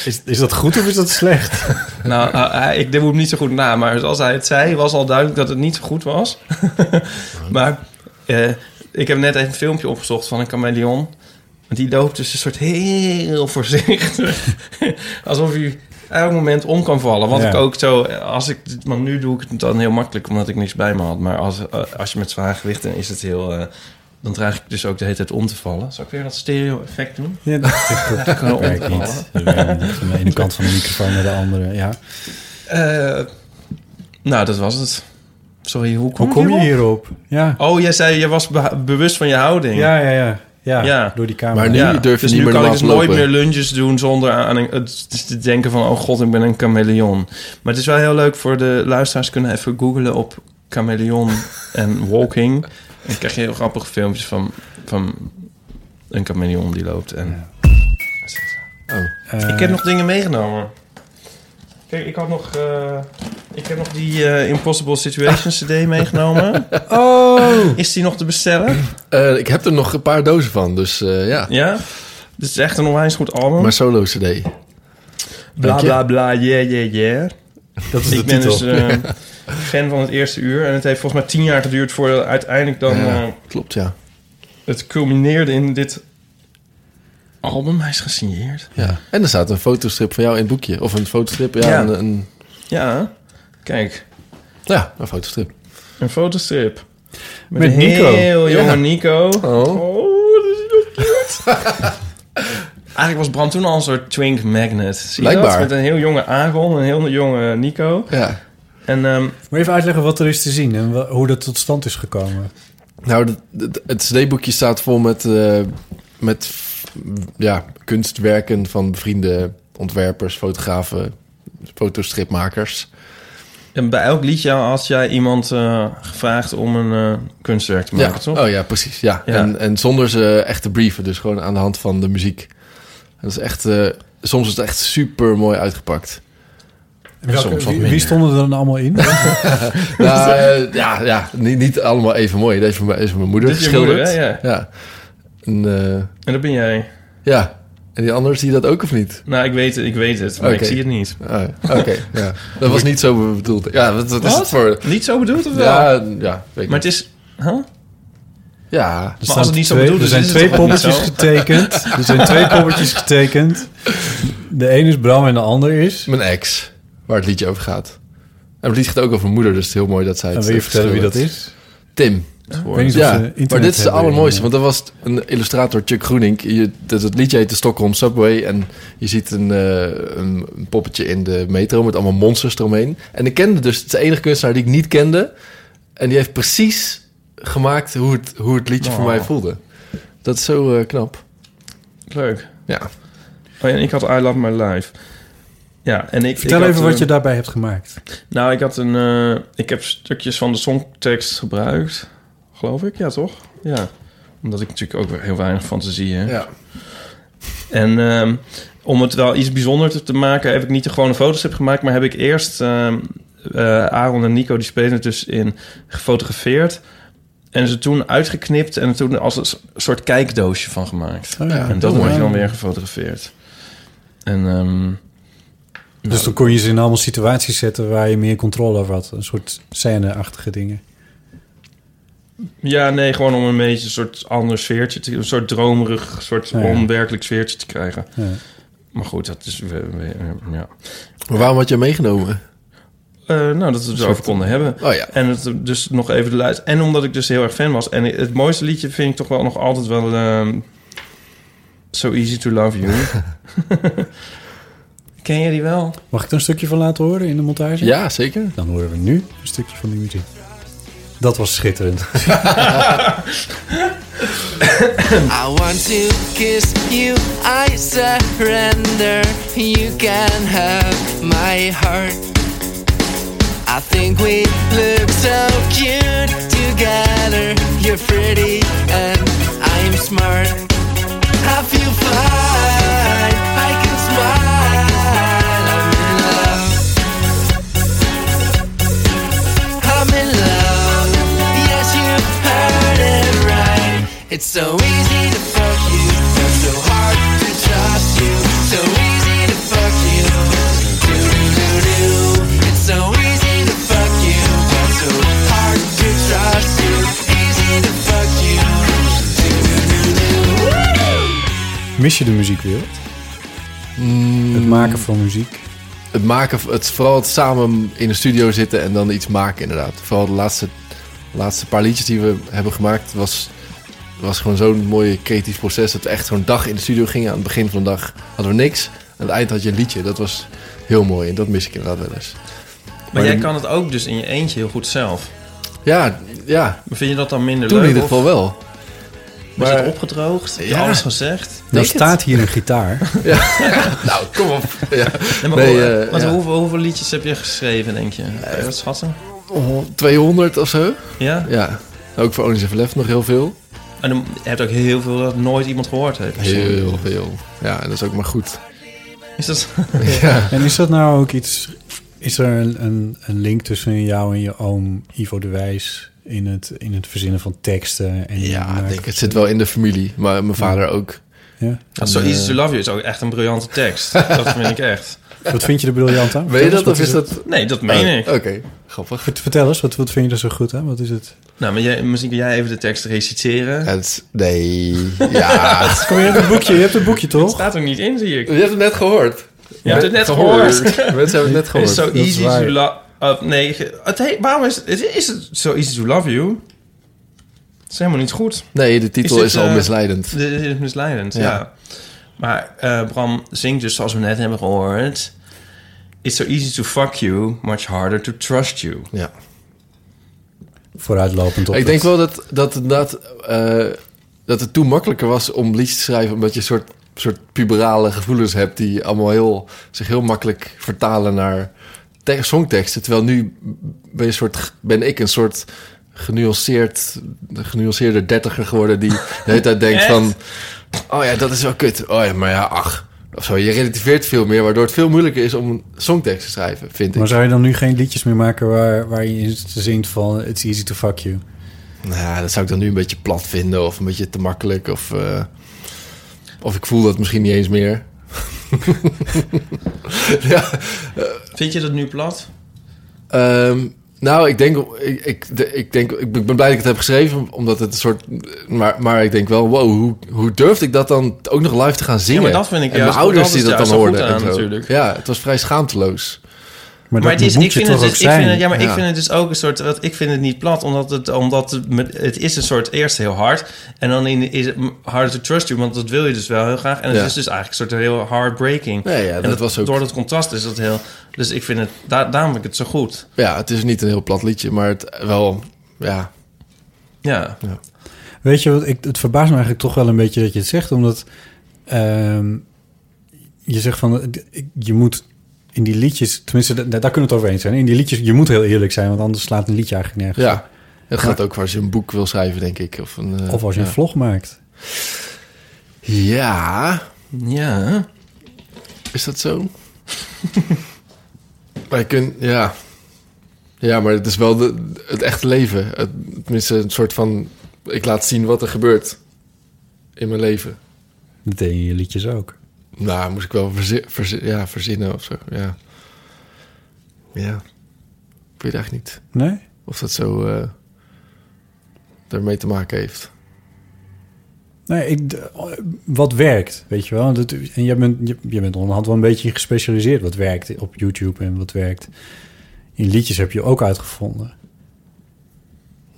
Is, is dat goed of is dat slecht? nou, eh, hij- ik deed hem niet zo goed na, maar zoals hij het zei, was al duidelijk dat het niet zo goed was. maar eh, ik heb net even een filmpje opgezocht van een chameleon. Want die loopt dus een soort heel voorzichtig. Alsof hij elk moment om kan vallen. Wat Ja. ik ook zo, eh, als ik, dit- want nu doe ik het dan heel makkelijk omdat ik niks bij me had. Maar als, eh, als je met zwaar gewicht, dan is het heel. eh, dan dreig ik dus ook de hele tijd om te vallen. Zal ik weer dat stereo-effect doen? Ja, dat klopt. Ik kan er Kijk om niet. Van de ene kant van de microfoon naar de andere. Ja. Eh, nou, dat was het. Sorry, hoe kom, Hoe kom je hierop? hierop? Ja. Oh, jij zei je was be- bewust van je houding. Ja, ja, ja. Ja, Ja. door die camera. Maar nu durf je dus niet nu meer kan ik normaal dus te lopen. nooit meer lunges doen zonder aan een- het het te denken van... oh god, ik ben een chameleon. Maar het is wel heel leuk voor de luisteraars... kunnen even googlen op chameleon en walking. En dan krijg je heel grappige filmpjes van, van een chameleon die loopt. En... Oh. Eh, Ik heb nog dingen meegenomen. Kijk, ik had nog... eh, ik heb nog die eh, Impossible Situations CD meegenomen. Oh! Is die nog te bestellen? Eh, ik heb er nog een paar dozen van, dus eh, ja. Ja? Dit is echt een onwijs goed album. Maar solo CD. Bla Dank je. bla bla, yeah yeah yeah. Dat is de Ik ben titel. dus eh, fan van het eerste uur. En het heeft volgens mij tien jaar geduurd voordat uiteindelijk dan Ja, eh, klopt, ja. het culmineerde in dit album. Hij is gesigneerd. ja. En er staat een fotostrip van jou in het boekje. Of een fotostrip, ja. Ja. Een, een- Ja, kijk, ja, een fotostrip. een fotostrip. Met, Met een Nico. heel jonge Ja. Nico. Oh. dat is nog cute. Eigenlijk was Bram toen al een soort twink magnet. Zie je dat? Blijkbaar. Met een heel jonge Aaron, een heel jonge Nico. Ja. En ehm, Maar even uitleggen wat er is te zien en wa- hoe dat tot stand is gekomen. Nou, dat- dat- het CD-boekje staat vol met, eh, met f- ja, kunstwerken van bevriende ontwerpers, fotografen, fotostripmakers. En bij elk liedje had jij iemand eh, gevraagd om een eh, kunstwerk te maken, ja. toch? Oh ja, precies. Ja. Ja. En, en zonder ze echt te brieven, dus gewoon aan de hand van de muziek. En dat is echt, eh, soms is het echt super mooi uitgepakt. Welke- soms wat wie, wie minder. stonden er dan allemaal in? Nou, eh, ja, ja niet, niet allemaal even mooi. Deze is van mijn, is van mijn moeder Dit is je geschilderd. moeder, hè? Ja. Ja. En, eh, En dat ben jij. ja. En die anderen zie je dat ook of niet? Nou, ik weet het, ik weet het maar ik Oké. zie het niet. Ah, Oké, ja. Dat was niet zo bedoeld. Ja, wat, wat is het voor... Niet zo bedoeld of wel? Ja, ja, weet ik Maar het niet. is... Huh? Ja, Maar als het niet zo bedoeld er is, zijn is het twee toch ook niet poppetjes zo? getekend. Er zijn twee poppetjes getekend. De een is Bram en de ander is. mijn ex, waar het liedje over gaat. En het lied gaat ook over mijn moeder, dus het is heel mooi dat zij En het wil je heeft vertellen wie dat geschilderd. is? Tim. Ik weet niet of ze Ja, internet maar dit is de hebben. eh, allermooiste, want dat was een illustrator, Chuck Groening. Je, dat, het liedje heet de Stockholm Subway en je ziet een, eh, een, een poppetje in de metro met allemaal monsters eromheen. En ik kende dus, het is de enige kunstenaar die ik niet kende. En die heeft precies gemaakt hoe het, hoe het liedje voor Oh. mij voelde. Dat is zo eh, knap. Leuk. Ja. Oh, ja, en ik had I Love My Life. Ja, en ik... Vertel ik had, even wat eh, je daarbij hebt gemaakt. Nou, ik had een... eh, ik heb stukjes van de songtekst gebruikt. Geloof ik, ja toch? Ja. Omdat ik natuurlijk ook weer heel weinig fantasie heb. ja. En ehm, om het wel iets bijzonders te- te maken, heb ik niet de gewone fotostrip gemaakt, maar heb ik eerst ehm, eh, Aaron en Nico, die spelen het dus in, gefotografeerd. En ze toen uitgeknipt en er toen als een s- soort kijkdoosje van gemaakt. Oh ja, en dat oh, wordt ja. dan weer gefotografeerd. En ehm, Dus dan kon je ze in allemaal situaties zetten waar je meer controle over had. Een soort scène-achtige dingen. ja, nee, gewoon om een beetje een soort ander sfeertje, te, een soort dromerig, soort Ja. onwerkelijk sfeertje te krijgen. Ja. Maar goed, dat is... we- we- eh, ja. Maar waarom had je hem meegenomen? Eh, nou, dat we het erover konden hebben. Oh ja. En het dus nog even de luid. En omdat ik dus heel erg fan was. En het mooiste liedje vind ik toch wel nog altijd wel. ehm, so easy to love you. Ken je die wel? Mag ik er een stukje van laten horen in de montage? Ja, zeker. Dan horen we nu een stukje van die muziek. Dat was schitterend. I want to kiss you, I surrender. You can have my heart. I think we look so cute together. You're pretty and I'm smart. I feel fine, I can smile. I'm in love. I'm in love. Yes, you heard it So easy to fuck you, but so hard to trust you. So easy to fuck you, do do do do. It's so easy to fuck you, but so hard to trust you. Easy to fuck you, do do do do. Mis je de muziekwereld? Mm. Het maken van muziek? Het maken, het, vooral het samen in de studio zitten en dan iets maken inderdaad. Vooral de laatste, laatste paar liedjes die we hebben gemaakt was, was gewoon zo'n mooi creatief proces. Dat we echt zo'n dag in de studio gingen. Aan het begin van de dag hadden we niks. Aan het eind had je een liedje. Dat was heel mooi en dat mis ik inderdaad wel eens. Maar jij de- kan het ook dus in je eentje heel goed zelf. Ja, ja Maar vind je dat dan minder toen in leuk? ieder geval wel. Of is maar- het opgedroogd? Heb je Ja. alles gezegd? Nou het? staat hier een gitaar. Nou, kom op. Ja. Nee, maar Nee, hoe- eh, want ja. hoeveel, hoeveel liedjes heb je geschreven, denk je? Kan je dat schatten? 200 of zo. Ja? Ja. Ook voor Onis Even Left nog heel veel. En dan je hebt ook heel veel dat nooit iemand gehoord heeft. Heel veel. Ja, en dat is ook maar goed. Is dat... Ja. En is dat nou ook iets... Is er een, een, een link tussen jou en je oom Ivo de Wijs... in het, in het verzinnen van teksten? En Ja, ik maken- denk, het zit wel in de familie. Maar mijn vader ook. Ja? Want So Easy To Love You is ook echt een briljante tekst. dat vind ik echt. Wat vind je er briljant aan? Weet je Vertel dat eens, of wat is dat... Nee, dat meen Oh, ik. Oké, grappig. Vert- Vertel eens, wat, wat vind je er zo goed aan? Wat is het? Nou, maar jij, misschien kun jij even de tekst reciteren. Ja, het is- nee, ja. het is- Kom, je hebt een boekje, je hebt een boekje Het toch? staat er niet in, zie ik. Je hebt het net gehoord. Je hebt het net gehoord. Mensen hebben het net gehoord. It's so Dat is easy waar. to love... nee, ge- het he- waarom is het, is het so easy to love you? Het is helemaal niet goed. Nee, de titel Is is, dit, al eh, misleidend. Dit is misleidend, ja. Ja. Maar eh, Bram zingt dus, zoals we net hebben gehoord... It's so easy to fuck you, much harder to trust you. Ja. Vooruitlopend op Ik het- denk wel dat, dat, dat, dat het toen makkelijker was om liedjes te schrijven... omdat je een soort, soort puberale gevoelens hebt... die allemaal heel, zich heel makkelijk vertalen naar te- songteksten. Terwijl nu ben, je een soort, ben ik een soort genuanceerd, genuanceerde dertiger geworden... die de hele tijd denkt Echt? van... oh ja, dat is wel kut. Oh ja, maar ja, ach. Of zo. Je relativeert veel meer... waardoor het veel moeilijker is om een songtekst te schrijven, vind ik. Maar zou je dan nu geen liedjes meer maken waar, waar je in zingt van... It's easy to fuck you? Nou, ja, dat zou ik dan nu een beetje plat vinden of een beetje te makkelijk. Of, eh, of ik voel dat misschien niet eens meer. ja, Vind je dat nu plat? ehm, nou, ik denk, ik, ik, de- ik denk, ik ben ik ben blij dat ik het heb geschreven, omdat het een soort, maar, maar ik denk wel, wow, hoe, hoe durfde ik dat dan ook nog live te gaan zingen? maar dat vind ik en juist- mijn ouders die dat is dat dan juist hoorden. zo goed en aan, zo. natuurlijk. Ja, het was vrij schaamteloos. Maar, Maar dat het is, moet ik je vind toch het ook dus, ik zijn? vind het, ja, maar ik Ja. vind het dus ook een soort, dat ik vind het niet plat, omdat het, omdat het, met- het is een soort eerst heel hard en dan in, is het harder to trust you, want dat wil je dus wel heel graag. En het Ja. is dus eigenlijk een soort heel heartbreaking. Nee, ja, en dat was ook- Door dat contrast is dat heel, dus ik vind het, daar, daarom vind ik het zo goed. Ja, het is niet een heel plat liedje, maar het wel, ja, Ja, Weet je wat, ik, het verbaast me eigenlijk toch wel een beetje dat je het zegt, omdat ehm, je zegt van, eh, d- ik- je moet in die liedjes, tenminste, da- daar kunnen we het over eens zijn, in die liedjes, je moet heel eerlijk zijn, want anders slaat een liedje eigenlijk nergens. ja. Het gaat ook als je een boek wil schrijven, denk ik. Of, een, eh, op. Of als je ja. een vlog maakt. Ja, ja. is dat zo? Wij kunnen, ja. Ja, maar het is wel de, het echte leven. Het, tenminste, een soort van... Ik laat zien wat er gebeurt in mijn leven. Dat deed je in je liedjes ook. Nou, moest ik wel verzi- verzi- ja, verzinnen of zo. Ja. ja. Ik weet eigenlijk niet Nee? of dat zo eh daarmee te maken heeft. Nee, ik, d- oh, wat werkt, weet je wel? Dat, en jij bent, je, je bent onderhand wel een beetje gespecialiseerd wat werkt op YouTube en wat werkt. In liedjes heb je ook uitgevonden.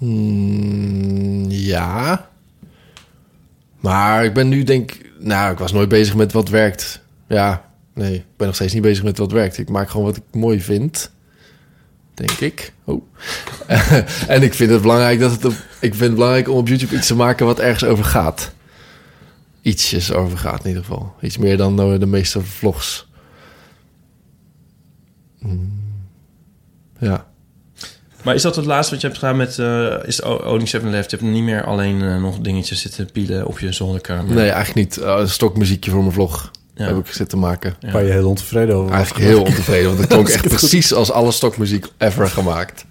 Hmm, ja. Maar ik ben nu denk... Nou, ik was nooit bezig met wat werkt. Ja, nee. Ik ben nog steeds niet bezig met wat werkt. Ik maak gewoon wat ik mooi vind. Denk ik. Oh. en ik vind het belangrijk dat het op, Ik vind het belangrijk om op YouTube iets te maken wat ergens over gaat. Ietsjes over gaat in ieder geval. Iets meer dan eh, de meeste vlogs. Hmm. Ja. Maar is dat het laatste wat je hebt gedaan met, eh is O- Onyx 7 Left? Je hebt niet meer alleen eh, nog dingetjes zitten pielen op je zolderkamer. Nee, eigenlijk niet. Eh, een stokmuziekje voor mijn vlog. heb ik zitten maken. Waar je heel ontevreden over was. Eigenlijk heel ontevreden, want het klonk echt precies als alle stokmuziek ever gemaakt.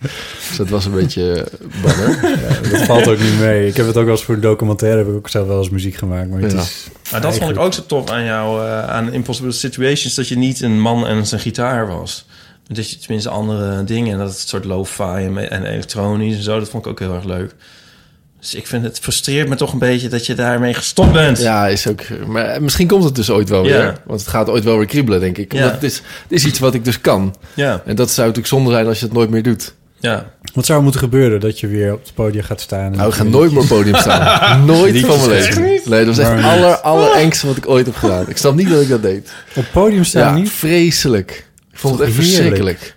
Dus dat was een beetje eh, banger. Dat valt ook niet mee. Ik heb het ook wel eens voor een documentaire, heb ik ook zelf wel eens muziek gemaakt. Maar het Ja. is Maar dat vond ik ook zo tof aan jou, eh, aan Impossible Situations, dat je niet een man en zijn gitaar was. Dat je tenminste andere dingen, en dat het soort lo-fi en, me- en elektronisch en zo, dat vond ik ook heel erg leuk. Dus ik vind het frustreert me toch een beetje dat je daarmee gestopt bent. Ja, is ook. Maar misschien komt het dus ooit wel weer. Ja. Want het gaat ooit wel weer kriebelen, denk ik. Ja. Omdat het, is, het is iets wat ik dus kan. ja. En dat zou natuurlijk zonde zijn als je het nooit meer doet. ja. Wat zou er moeten gebeuren dat je weer op het podium gaat staan? Nou, ik ga nooit meer op het podium staan. nooit van mijn leven. Nee, dat was echt het Waarom aller, allerengste wat ik ooit heb gedaan. Ik snap niet dat ik dat deed. Op het podium staan Ja, niet? vreselijk. Ik vond het echt Toch heerlijk. verschrikkelijk.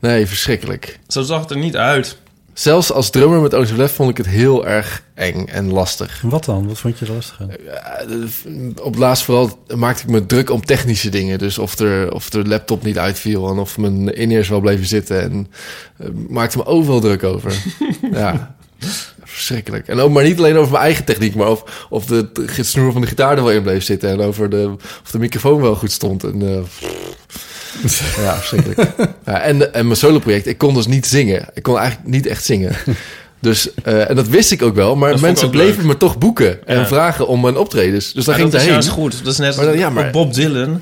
Nee, verschrikkelijk. Zo zag het er niet uit. Zelfs als drummer met Ozef Lef vond ik het heel erg eng en lastig. Wat dan? Wat vond je lastig? aan? Ja, Eh, Op het laatst vooral maakte ik me druk om technische dingen. Dus of, er, of de laptop niet uitviel en of mijn in-ears wel bleven zitten. En eh, maakte me overal druk over. ja, verschrikkelijk. En ook maar niet alleen over mijn eigen techniek, maar of, of de t- snoer van de gitaar er wel in bleef zitten. En over de, of de microfoon wel goed stond. En, eh, ja, verschrikkelijk. ja, en, en mijn soloproject, ik kon dus niet zingen. Ik kon eigenlijk niet echt zingen. Dus, eh, en dat wist ik ook wel, maar Dat vond ik mensen ook bleven leuk. me toch boeken en Ja. vragen om mijn optredens. Dus daar Maar ging dat ik is heen. juist goed. Dat is net Maar als dan- ja, maar- Bob Dylan.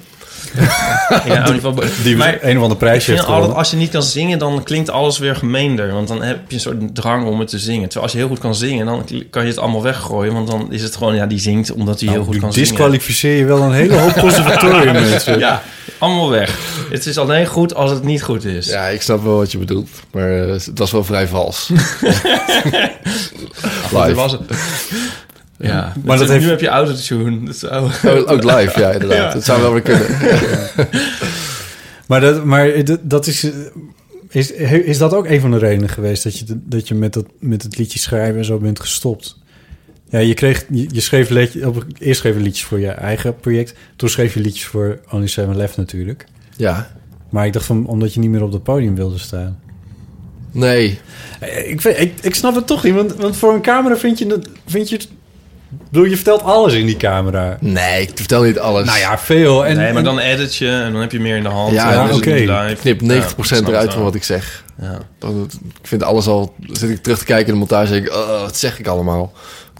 ja, in ieder geval. Die Maar- een of ander Ik prijsje vind heeft altijd, gewonnen. als je niet kan zingen, dan klinkt alles weer gemeender. Want dan heb je een soort drang om het te zingen. Terwijl als je heel goed kan zingen, dan kan je het allemaal weggooien. Want dan is het gewoon, ja, die zingt omdat Nou, hij heel goed kan zingen. Disqualificeer je wel een hele hoop conservatorium mensen. Ja, allemaal weg. Het is alleen goed als het niet goed is. Ja, ik snap wel wat je bedoelt, maar eh, het was wel vrij vals. Er live. was het. Ja, Maar Dus dat heeft- nu heb je autotune. Dat is- oh. Ook ook live, ja, inderdaad. Dat zou wel weer kunnen. Maar, dat, maar dat, dat is, eh, is, he- is dat ook een van de redenen geweest dat je, de- dat je met, dat, met het liedje schrijven en zo bent gestopt? Ja, je, kreeg, je, je schreef liedje, op, eerst schreef je liedjes voor je eigen project. Toen schreef je liedjes voor Only Seven Left natuurlijk. Ja, Maar ik dacht van, omdat je niet meer op het podium wilde staan. nee. Ik, vind- ik, ik snap het toch niet, want, want voor een camera vind je... dat- Vind je het- ik bedoel, je vertelt alles in die camera. Nee, ik vertel niet alles. Nou ja, veel. En, nee, maar en- dan edit je en dan heb je meer in de hand. Ja, En dan ja, is het oké. niet live. Ik knip 90% Ja, eruit snap van wel. wat ik zeg. Ja. Dan- Ik vind alles al... dan zit ik terug te kijken in de montage en denk ik... Oh, wat zeg ik allemaal?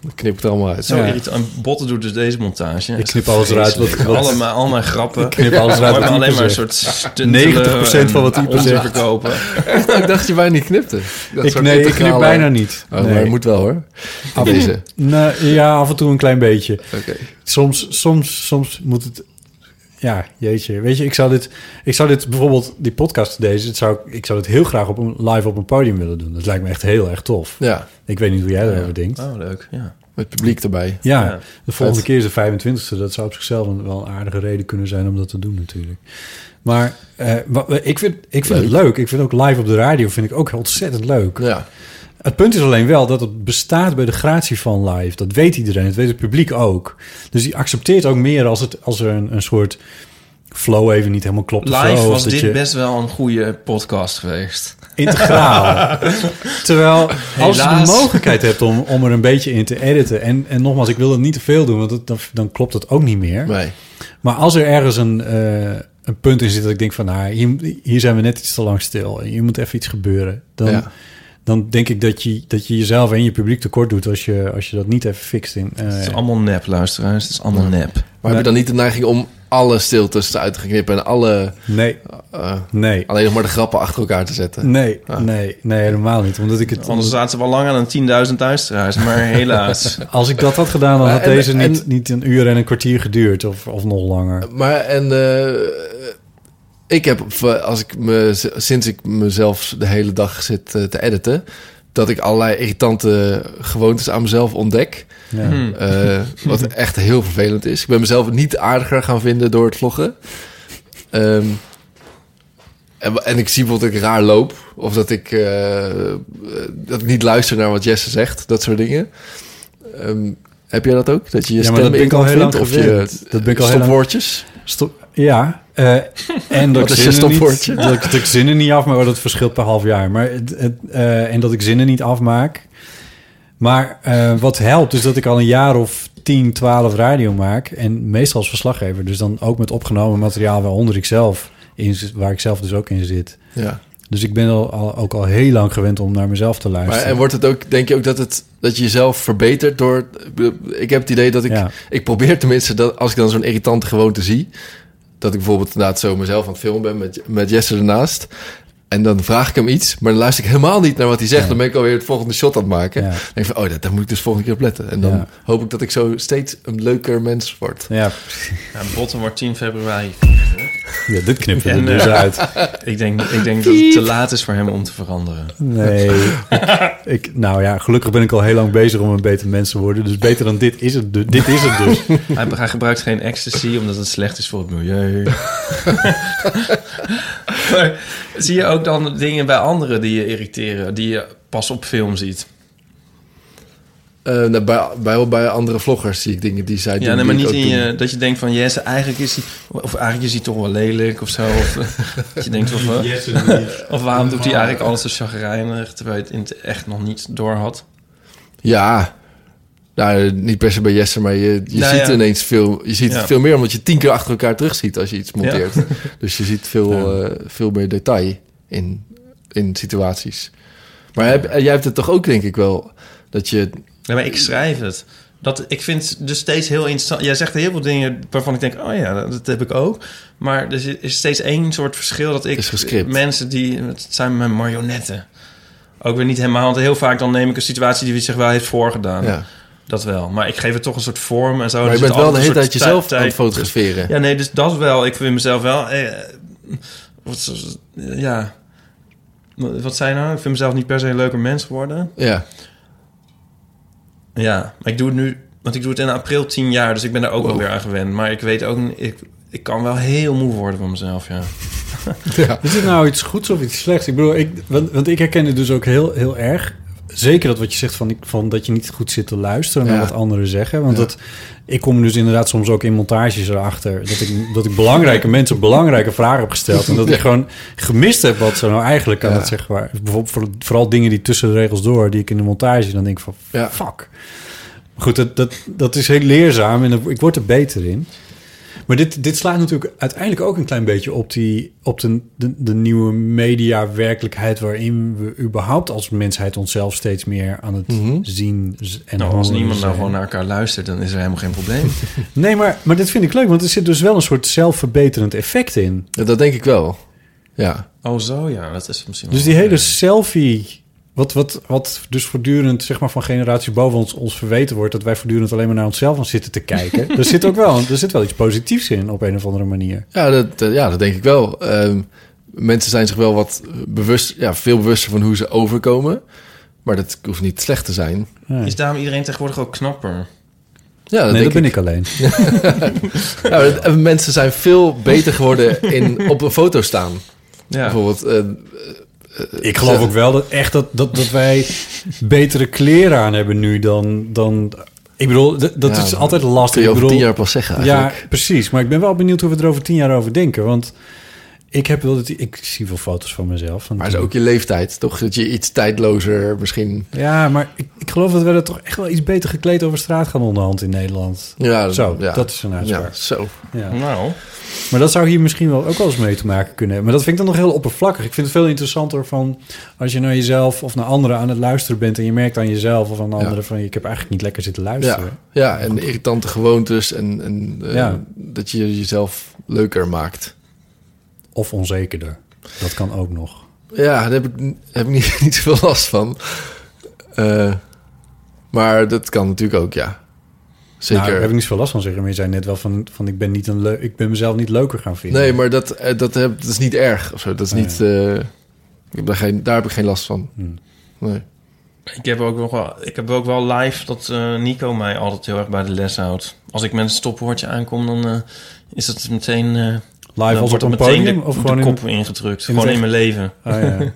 Dan knip ik het allemaal uit. Zo Ja. irritant. En Botten doet dus deze montage. Ik knip alles eruit wat- wat- Allemaal, al mijn grappen. Ik knip alles eruit wat Ieper alleen maar een soort zegt. stuntelen 90% van wat en Ieper onzin zegt. Oh, verkopen. Nou, ik dacht je bijna niet knipte. Dat ik, soort nee, ik knip integrale- bijna niet. Oh, nee. Maar je moet wel hoor. Aflezen. Nou, ja, af en toe een klein beetje. Oké. Soms, soms, soms moet het... Ja, jeetje. Weet je, ik zou dit, ik zou dit bijvoorbeeld, die podcast deze, het zou, ik- ik zou dit heel graag op een, live op een podium willen doen. Dat lijkt me echt heel erg tof. Ja, Ah, Ik weet niet hoe jij daarover denkt. Oh, leuk. Ja. met publiek erbij. Ja, Ja. de volgende keer is de 25e. Dat zou op zichzelf een, wel een aardige reden kunnen zijn om dat te doen natuurlijk. Maar eh, wa- ik vind, ik vind het leuk. Ik vind ook live op de radio vind ik ook ontzettend leuk. Ja. Het punt is alleen wel dat het bestaat bij de gratie van live. Dat weet iedereen, dat weet het publiek ook. Dus die accepteert ook meer als, het, als er een, een soort flow even niet helemaal klopt. of zo, Live of was dat dit je- best wel een goede podcast geweest. integraal. Terwijl als je Helaas. de mogelijkheid hebt om, om er een beetje in te editen... en, en nogmaals, ik wil het niet te veel doen, want dat, dan, dan klopt het ook niet meer. Nee. Maar als er ergens een, eh, een punt in zit dat ik denk van... Nou, hier, hier zijn we net iets te lang stil. Hier moet even iets gebeuren. Dan, Ja. dan denk ik dat je, dat je jezelf en je publiek tekort doet... als je, als je dat niet even fixt. In, eh, Het is allemaal nep, luisteraars. Het is allemaal nep. Maar heb je dan niet de neiging om alle stiltes eruit te knippen en alle, nee, eh, nee, alleen nog maar de grappen achter elkaar te zetten? nee, nee, nee, helemaal niet. Omdat ik het... Anders zaten we al lang aan 10.000 luisteraars. Maar helaas. Als ik dat had gedaan, dan had en- deze niet, en- niet een uur en een kwartier geduurd. Of, of nog langer. Maar en eh, ik heb, eh, als ik me, sinds ik mezelf de hele dag zit eh, te editen, dat ik allerlei irritante gewoontes aan mezelf ontdek. Ja. Eh, wat echt heel vervelend is. Ik ben mezelf niet aardiger gaan vinden door het vloggen. Ehm, en, en ik zie bijvoorbeeld dat ik raar loop. Of dat ik, eh, eh, dat ik niet luister naar wat Jesse zegt. Dat soort dingen. Ehm, heb jij dat ook? Dat je je Ja, maar dat stem ben ik al irritant heel lang vindt? Of je gewend. Dat ben ik al heel lang- stopwoordjes? Stop. Ja. eh, en dat Wat ik, is je zinnen niet, stopwoordje? dat, ik, dat ik zinnen niet afmaak, maar dat verschilt per half jaar. Maar het, het, eh, en dat ik zinnen niet afmaak. Maar eh, wat helpt is dat ik al een jaar of 10, 12 radio maak. En meestal als verslaggever. Dus dan ook met opgenomen materiaal waaronder ik zelf in, zit- waar ik zelf dus ook in zit. Ja. Dus ik ben al, al- ook al heel lang gewend om naar mezelf te Maar, luisteren. en wordt het ook, denk je ook dat, het, dat je jezelf verbetert door... ik bedoel, Ik heb het idee dat ik... Ja. Ik probeer tenminste, dat als ik dan zo'n irritante gewoonte zie... dat ik bijvoorbeeld inderdaad zo mezelf aan het filmen ben met, met Jesse ernaast... en dan vraag ik hem iets, maar dan luister ik helemaal niet naar wat hij zegt. Dan ben ik alweer het volgende shot aan het maken. Ja. Dan denk ik van, oh, dat, daar moet ik dus volgende keer op letten. En dan Ja. hoop ik dat ik zo steeds een leuker mens word. Ja, Ja, Botten wordt 10 februari. ja dit knipt er En, dus eh, uit. Ik denk, ik denk dat het te laat is voor hem om te veranderen. Nee. ik, ik- nou ja, gelukkig ben ik al heel lang bezig om een beter mens te worden. Dus beter dan dit is het, du- dit is het dus. Hij, hij gebruikt geen ecstasy omdat het slecht is voor het milieu. maar zie je ook dan dingen bij anderen die je irriteren, die je pas op film ziet? Eh, nou, bij, bij, bij andere vloggers zie ik dingen die zij doen. Ja, nee, maar die niet ik ook in doe. je, dat je denkt van yes, eigenlijk is hij, of eigenlijk is hij toch wel lelijk of zo. Of, eh, dat je denkt van, eh, of waarom doet hij eigenlijk alles zo chagrijnig terwijl je het in het echt nog niet door had. Ja. Nou, niet per se bij Jesse, maar je, je Nou ziet ja. ineens veel... Je ziet Ja. het veel meer, omdat je tien keer achter elkaar terugziet als je iets monteert. Dus je ziet veel, eh, veel meer detail in, in situaties. Maar heb, eh, jij hebt het toch ook, denk ik wel, dat je... Ja, maar ik schrijf het. Dat, ik vind het dus steeds heel interessant. Jij zegt heel veel dingen waarvan ik denk: oh ja, dat, dat heb ik ook. Maar er zit- is steeds één soort verschil dat ik. Is gescript. Mensen die. Het zijn mijn marionetten. Ook weer niet helemaal. Want heel vaak dan neem ik een situatie die zich wel heeft voorgedaan. ja. Dat wel. Maar ik geef het toch een soort vorm en zo. Maar je Er Oh, zit bent wel altijd de een hele tijd soort jezelf tijd- aan het fotograferen. Ja, nee, dus dat wel. Ik vind mezelf wel. eh, wat, is- ja. Wat zei je nou? Ik vind mezelf niet per se een leuker mens geworden. Ja. Ja, maar ik doe het nu, want ik doe het in april tien jaar, dus ik ben daar ook alweer aan gewend. Maar ik weet ook, niet- ik, ik kan wel heel moe worden van mezelf, ja. Is het nou iets goeds of iets slechts? Ik bedoel, ik, want, want ik herken het dus ook heel, heel erg. Zeker dat wat je zegt van, ik- van dat je niet goed zit te luisteren naar Ja. wat anderen zeggen. Want dat, ik kom dus inderdaad soms ook in montages erachter. Dat ik, dat ik belangrijke mensen belangrijke vragen heb gesteld. En dat ik gewoon gemist heb wat ze nou eigenlijk aan Ja. het zeggen waren. Bijvoorbeeld voor- vooral dingen die tussen de regels door, die ik in de montage dan denk ik van, Ja. fuck. Maar Goed, dat, dat, dat is heel leerzaam en ik word er beter in. Maar dit, dit slaat natuurlijk uiteindelijk ook een klein beetje op, die, op de, de, de nieuwe media-werkelijkheid... waarin we überhaupt als mensheid onszelf steeds meer aan het zien z- en Nou, als horen niemand nou zijn. gewoon naar elkaar luistert, dan is er helemaal geen probleem. Nee, maar, maar dat vind ik leuk, want er zit dus wel een soort zelfverbeterend effect in. Ja, dat denk ik wel. Ja. oh, zo Oh, ja, dat is misschien wel- Dus die hele selfie, wat, wat, wat dus voortdurend zeg maar, van generatie boven ons, ons verweten wordt... dat wij voortdurend alleen maar naar onszelf aan zitten te kijken. er zit ook wel, er zit wel iets positiefs in op een of andere manier. Ja, dat, eh, ja, dat denk ik wel. Ehm, mensen zijn zich wel wat bewust, ja, veel bewuster van hoe ze overkomen. Maar dat hoeft niet slecht te zijn. Is daarom iedereen tegenwoordig ook knapper? Ja, dat nee, denk dat ben ik. ik alleen. Ja, maar dat- en mensen zijn veel beter geworden in op een foto staan. Ja, Bijvoorbeeld, eh, Ik geloof ook wel dat echt dat, dat, dat wij betere kleren aan hebben nu dan. dan ik bedoel, d- dat Ja, is dat altijd kun lastig. je Ik over bedoel, tien jaar pas zeggen ja, eigenlijk. precies. Maar ik ben wel benieuwd hoe we er over tien jaar over denken. Want ik heb wel dat ik zie veel foto's van mezelf. Van Maar toen. is ook je leeftijd, toch? Dat je iets tijdlozer misschien... Ja, maar ik, ik geloof dat we er toch echt wel iets beter gekleed over straat gaan onderhand in Nederland. Ja, Zo, ja. dat is een Ja, Hm. uitspraak. zo. Ja. nou, Maar dat zou hier misschien wel ook wel eens mee te maken kunnen hebben. Maar dat vind ik dan nog heel oppervlakkig. Ik vind het veel interessanter van als je naar jezelf of naar anderen aan het luisteren bent en je merkt aan jezelf of aan anderen van ik heb eigenlijk niet lekker zitten luisteren. Ja, ja, en irritante gewoontes en, en eh, eh, Ja. dat je jezelf leuker maakt. Of onzekerder. Dat kan ook nog. Nou, Ja, daar heb ik, heb ik niet, niet zoveel last van. Eh, maar dat kan natuurlijk ook, ja. Zeker. Nou, daar heb ik niet zoveel last van zeggen, maar je zei net wel van, van ik, ben niet een leu- ik ben mezelf niet leuker gaan vinden. Nee, maar dat, eh, dat, heb, dat is niet erg. Of zo. Dat is Nee. niet, eh, ik heb daar, geen, daar heb ik geen last van. Nee. ik heb ook, nog wel, ik heb ook wel live dat eh, Nico mij altijd heel erg bij de les houdt. Als ik met een stopwoordje aankom, dan eh, is dat meteen... eh, dan Live als op wordt een er meteen podium de, of de gewoon in... kop ingedrukt. het gewoon in echt? mijn leven. Ah, ja.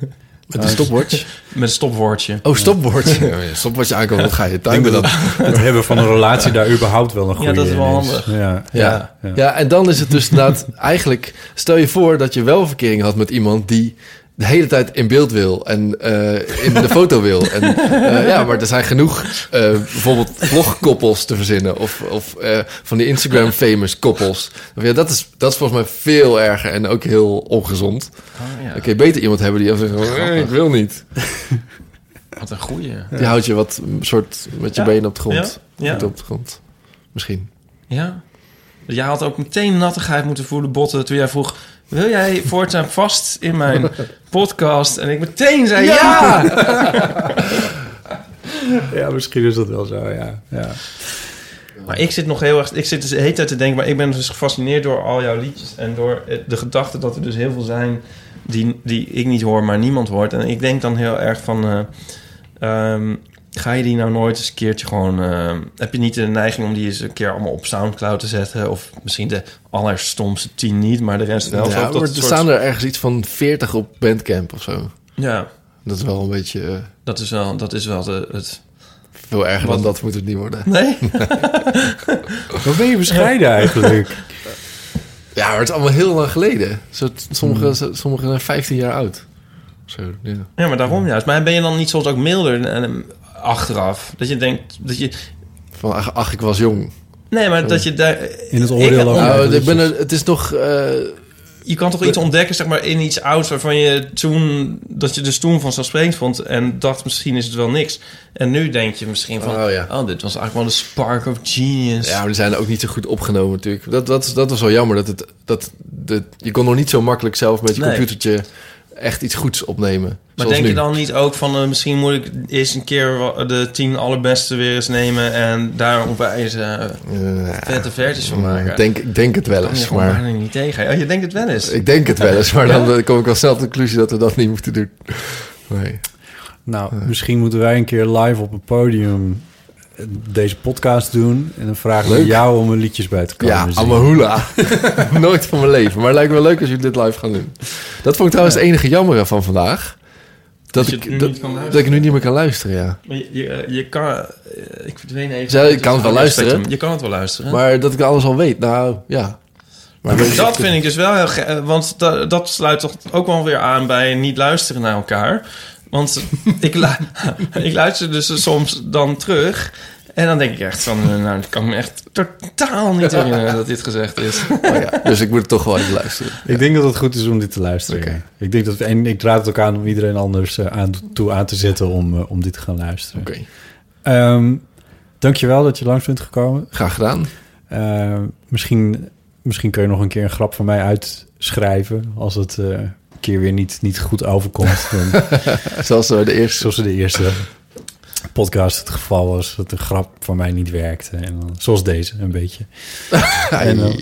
Met een stopwatch? Met een stopwoordje. Oh, stopwatch. Ja, maar ja, stopwatch aankomt, wat ga je timen dan? Het hebben van een relatie daar überhaupt wel een goede Ja, dat is wel in handig. Ja. Ja. Ja. en dan is het dus inderdaad... Eigenlijk, stel je voor dat je wel verkering had met iemand die de hele tijd in beeld wil en eh, in de foto wil. En, eh, ja, maar er zijn genoeg eh, bijvoorbeeld vlogkoppels te verzinnen of, of eh, van die Instagram-famous koppels. Ja, dat, is, dat is volgens mij veel erger en ook heel ongezond. Oh, ja. Dan kun je beter iemand hebben die dan zegt, "Eh, ik wil niet. Wat een goeie. Die houdt je wat mm, soort met je Ja. benen op de grond. Ja. Ja. Voeten op de grond. Misschien. Ja. Dus Jij had ook meteen nattigheid moeten voelen, botten, toen jij vroeg... Wil jij voortaan vast in mijn podcast? En ik meteen zei ja! Ja, misschien is dat wel zo, ja. ja. Maar ik zit nog heel erg... Ik zit dus de hele tijd te denken... Maar ik ben dus gefascineerd door al jouw liedjes... en door het- de gedachte dat er dus heel veel zijn... die, die ik niet hoor, maar niemand hoort. En ik denk dan heel erg van... eh, ehm, ga je die nou nooit eens een keertje gewoon... eh, heb je niet de neiging om die eens een keer allemaal op Soundcloud te zetten? Of misschien de allerstomste tien niet, maar de rest wel. Ja, Zo, dat maar er het soort- staan er ergens iets van 40 op Bandcamp of zo. Ja, Dat is wel een beetje eh, dat is wel, dat is wel de, het... veel erger dan Wat- dat moet het niet worden. Nee? Wat ben je bescheiden eigenlijk? Ja, maar het is allemaal heel lang geleden. Zo, sommige, Hmm. zo- sommige zijn 15 jaar oud. Zo, ja. Ja, maar daarom juist. Maar ben je dan niet soms ook milder en, en achteraf? Dat je denkt dat je... Van, ach, ach, ik was jong. Nee, maar dat je daar... In het Ik- Oh. oordeel over. Nou, ik ben dus- er- het is nog... eh, Je kan toch iets ontdekken, zeg maar, in iets ouds... waarvan je toen... dat je dus toen vanzelfsprekend vond... en dacht, misschien is het wel niks. En nu denk je misschien van... Oh, ja. dit was eigenlijk wel de spark of genius. ja, maar die zijn ook niet zo goed opgenomen natuurlijk. Dat, dat, is- dat was wel jammer. Dat het, dat, de, je kon nog niet zo makkelijk zelf met je Nee. computertje echt iets goeds opnemen. maar Zoals denk je nu. dan niet ook van... eh, misschien moet ik eens een keer wa- de tien allerbeste weer eens nemen... en daar onwijs eh Ja, vette versies van maar maken? ik denk, ik denk het wel Kan je eens, gewoon maar... bijna niet tegen. Oh, je denkt het wel eens. Ik denk het wel eens, maar dan kom ik wel snel tot de conclusie dat we dat niet moeten doen. Nee. Nou, Eh. misschien moeten wij een keer live op een podium eh, deze podcast doen. En dan vragen we Leuk. jou om er liedjes bij te komen Ja, zingen. Amahula. Nooit van mijn leven. Maar het lijkt me wel leuk als jullie dit live gaan doen. Dat vond ik trouwens het enige jammer van vandaag. Dat, Dat je het nu ik, dat, niet kan luisteren. dat ik nu niet meer kan luisteren, ja. Maar je, je, je kan... eh, Ik verdween even. Zij- je kan het wel Oh, luisteren. spectrum. Je kan het wel luisteren. Maar dat ik alles al weet, nou ja. Maar weet je- dat vind ik dus wel heel... ge- eh, Want da- dat sluit toch ook wel weer aan bij niet luisteren naar elkaar. Want ik, lu- ik luister dus soms dan terug... En dan denk ik echt van, eh, nou, ik kan me echt totaal niet herinneren dat dit gezegd is. Oh ja, dus ik moet het toch wel even luisteren. Ik denk dat het goed is om dit te luisteren. Oké. ja. Ik denk dat en ik raad het ook aan om iedereen anders eh, aan, toe aan te zetten om, eh, om dit te gaan luisteren. Oké, Ehm, dankjewel dat je langs bent gekomen. graag gedaan. Ehm, misschien, misschien kun je nog een keer een grap van mij uitschrijven als het eh, een keer weer niet, niet goed overkomt. Dan, Zoals eh, de eerste. zoals in de eerste podcast het geval was dat de grap van mij niet werkte. En dan, zoals deze, een beetje. En eh, eh, dan-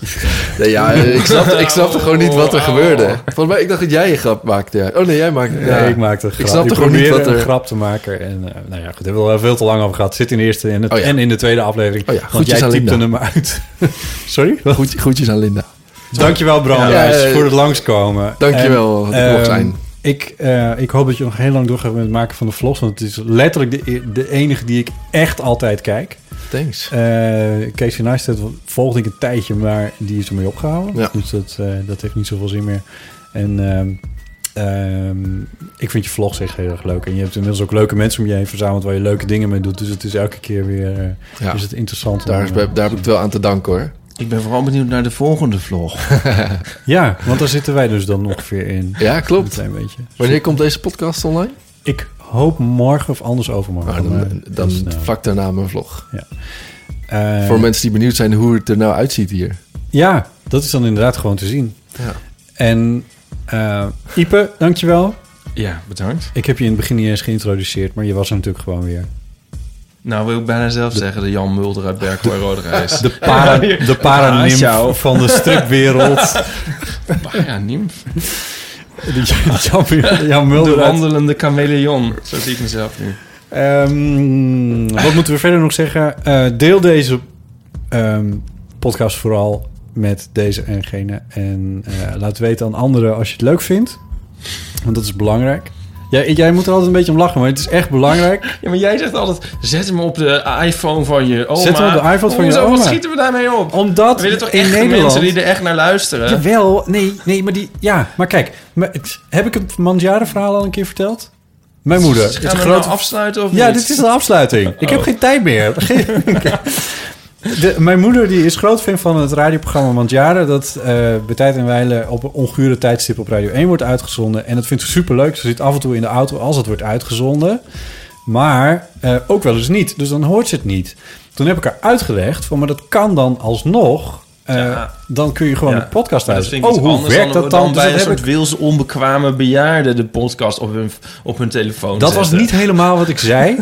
Nee, ja, ik snapte, ik snapte gewoon niet wat er Oh. gebeurde. Volgens mij, ik dacht dat jij een grap maakte. ja. Oh nee, jij maakte Nee, ja. ik maakte een grap. snapte Ik gewoon niet probeerde wat er- een grap te maken. En eh, nou ja, goed, daar hebben we al veel te lang over gehad. Zit in de eerste en, het- Oh ja. en in de tweede aflevering. Oh ja, want groetjes jij aan typte Linda. hem uit. Sorry? Goed, groetjes aan Linda. Dankjewel, Bram, Ja, Ruijs, eh, voor het langskomen. Dankjewel En, dat ik mocht ehm, zijn. Ik, eh, ik hoop dat je nog heel lang doorgaat met het maken van de vlogs. Want het is letterlijk de, e- de enige die ik echt altijd kijk. Thanks. Eh Casey Neistat volgde ik een tijdje, maar die is ermee opgehouden. Ja. Dus dat, eh, dat heeft niet zoveel zin meer. En ehm, ehm, ik vind je vlogs echt heel erg leuk. En je hebt inmiddels ook leuke mensen om je heen verzameld... waar je leuke dingen mee doet. Dus het is elke keer weer eh, Ja. is het interessant. om, Daar, is, eh, daar heb ik het wel aan te danken hoor. Ik ben vooral benieuwd naar de volgende vlog. Ja, want daar zitten wij dus dan ongeveer in. Ja, Een klopt. klein beetje. Wanneer komt deze podcast online? Ik hoop morgen of anders overmorgen. Ah, dan maar dan dat is nou, vlak daarna mijn vlog. eh, Voor mensen die benieuwd zijn hoe het er nou uitziet hier. Ja, dat is dan inderdaad gewoon te zien. Ja. En eh Ipe, dankjewel. Ja, bedankt. Ik heb je in het begin niet eens geïntroduceerd, maar je was er natuurlijk gewoon weer. Nou wil ik bijna zelf zeggen de Jan Mulder uit Berkel en Roderijs. De, para, de paranimf van de stripwereld. paranimf. Die Jan, Jan De Mulder. uit- wandelende chameleon. Zo zie ik mezelf nu. Ehm, wat moeten we verder nog zeggen? Eh, deel deze ehm, podcast vooral met deze en gene. En eh, laat weten aan anderen als je het leuk vindt. Want dat is belangrijk. Ja, jij moet er altijd een beetje om lachen, maar het is echt belangrijk. Ja, maar jij zegt altijd, zet hem op de iPhone van je oma. Zet hem op de iPhone van je Hoezo, oma. Wat schieten we daarmee op? Omdat we willen toch in echt Nederland... mensen die er echt naar luisteren? Jawel, nee, nee, maar die... Ja, maar kijk, maar het- heb ik het Mandjaren verhaal al een keer verteld? Mijn moeder. Gaan we het hem grote- nou afsluiten of Ja, niet? dit is de afsluiting. Ik Oh. heb geen tijd meer. Oké. De, mijn moeder die is groot fan van het radioprogramma Mandjaren... dat eh, bij tijd en wijle op een ongure tijdstip op Radio 1 wordt uitgezonden. En dat vindt ze superleuk. Ze zit af en toe in de auto als het wordt uitgezonden. Maar eh, ook wel eens niet. Dus dan hoort ze het niet. Toen heb ik haar uitgelegd van, maar dat kan dan alsnog... Eh, Ja. Dan kun je gewoon Ja, een podcast maar dat luisteren. vind ik iets oh, hoe anders werkt dan, dat dan dan? Dus bij dat een heb soort ik- Wils onbekwame bejaarden de podcast op hun, op hun telefoon dat was zetten. niet helemaal wat ik zei.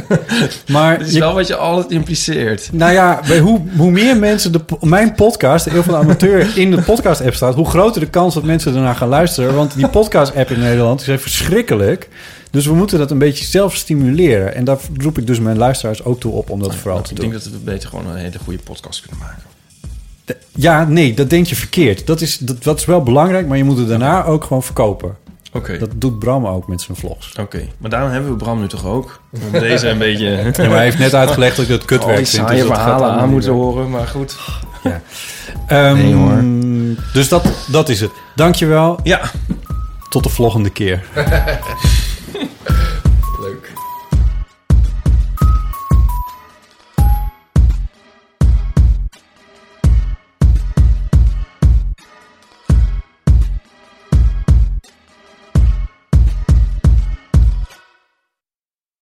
maar Dat is je wel wat je altijd impliceert. Nou ja, bij hoe, hoe meer mensen de, po- mijn podcast, de Eeuw van de Amateur, in de podcast-app staat, hoe groter de kans dat mensen ernaar gaan luisteren. Want die podcast-app in Nederland is echt verschrikkelijk. Dus we moeten dat een beetje zelf stimuleren. En daar roep ik dus mijn luisteraars ook toe op om Nou dat vooral te Ik doen. denk dat we beter gewoon een hele goede podcast kunnen maken. Ja, nee, dat denk je verkeerd. Dat is, dat, dat is wel belangrijk, maar je moet het daarna ook gewoon verkopen. Oké. Dat doet Bram ook met zijn vlogs. Oké, maar daarom hebben we Bram nu toch ook? Om deze een beetje... Ja, maar hij heeft net uitgelegd dat ik dat al kutwerk die vind. saaie dus dat gaat verhalen allemaal aan niet moeten werken. horen, maar goed. Ehm, Nee, hoor. Dus dat, dat is het. Dankjewel. Ja, Tot de volgende keer.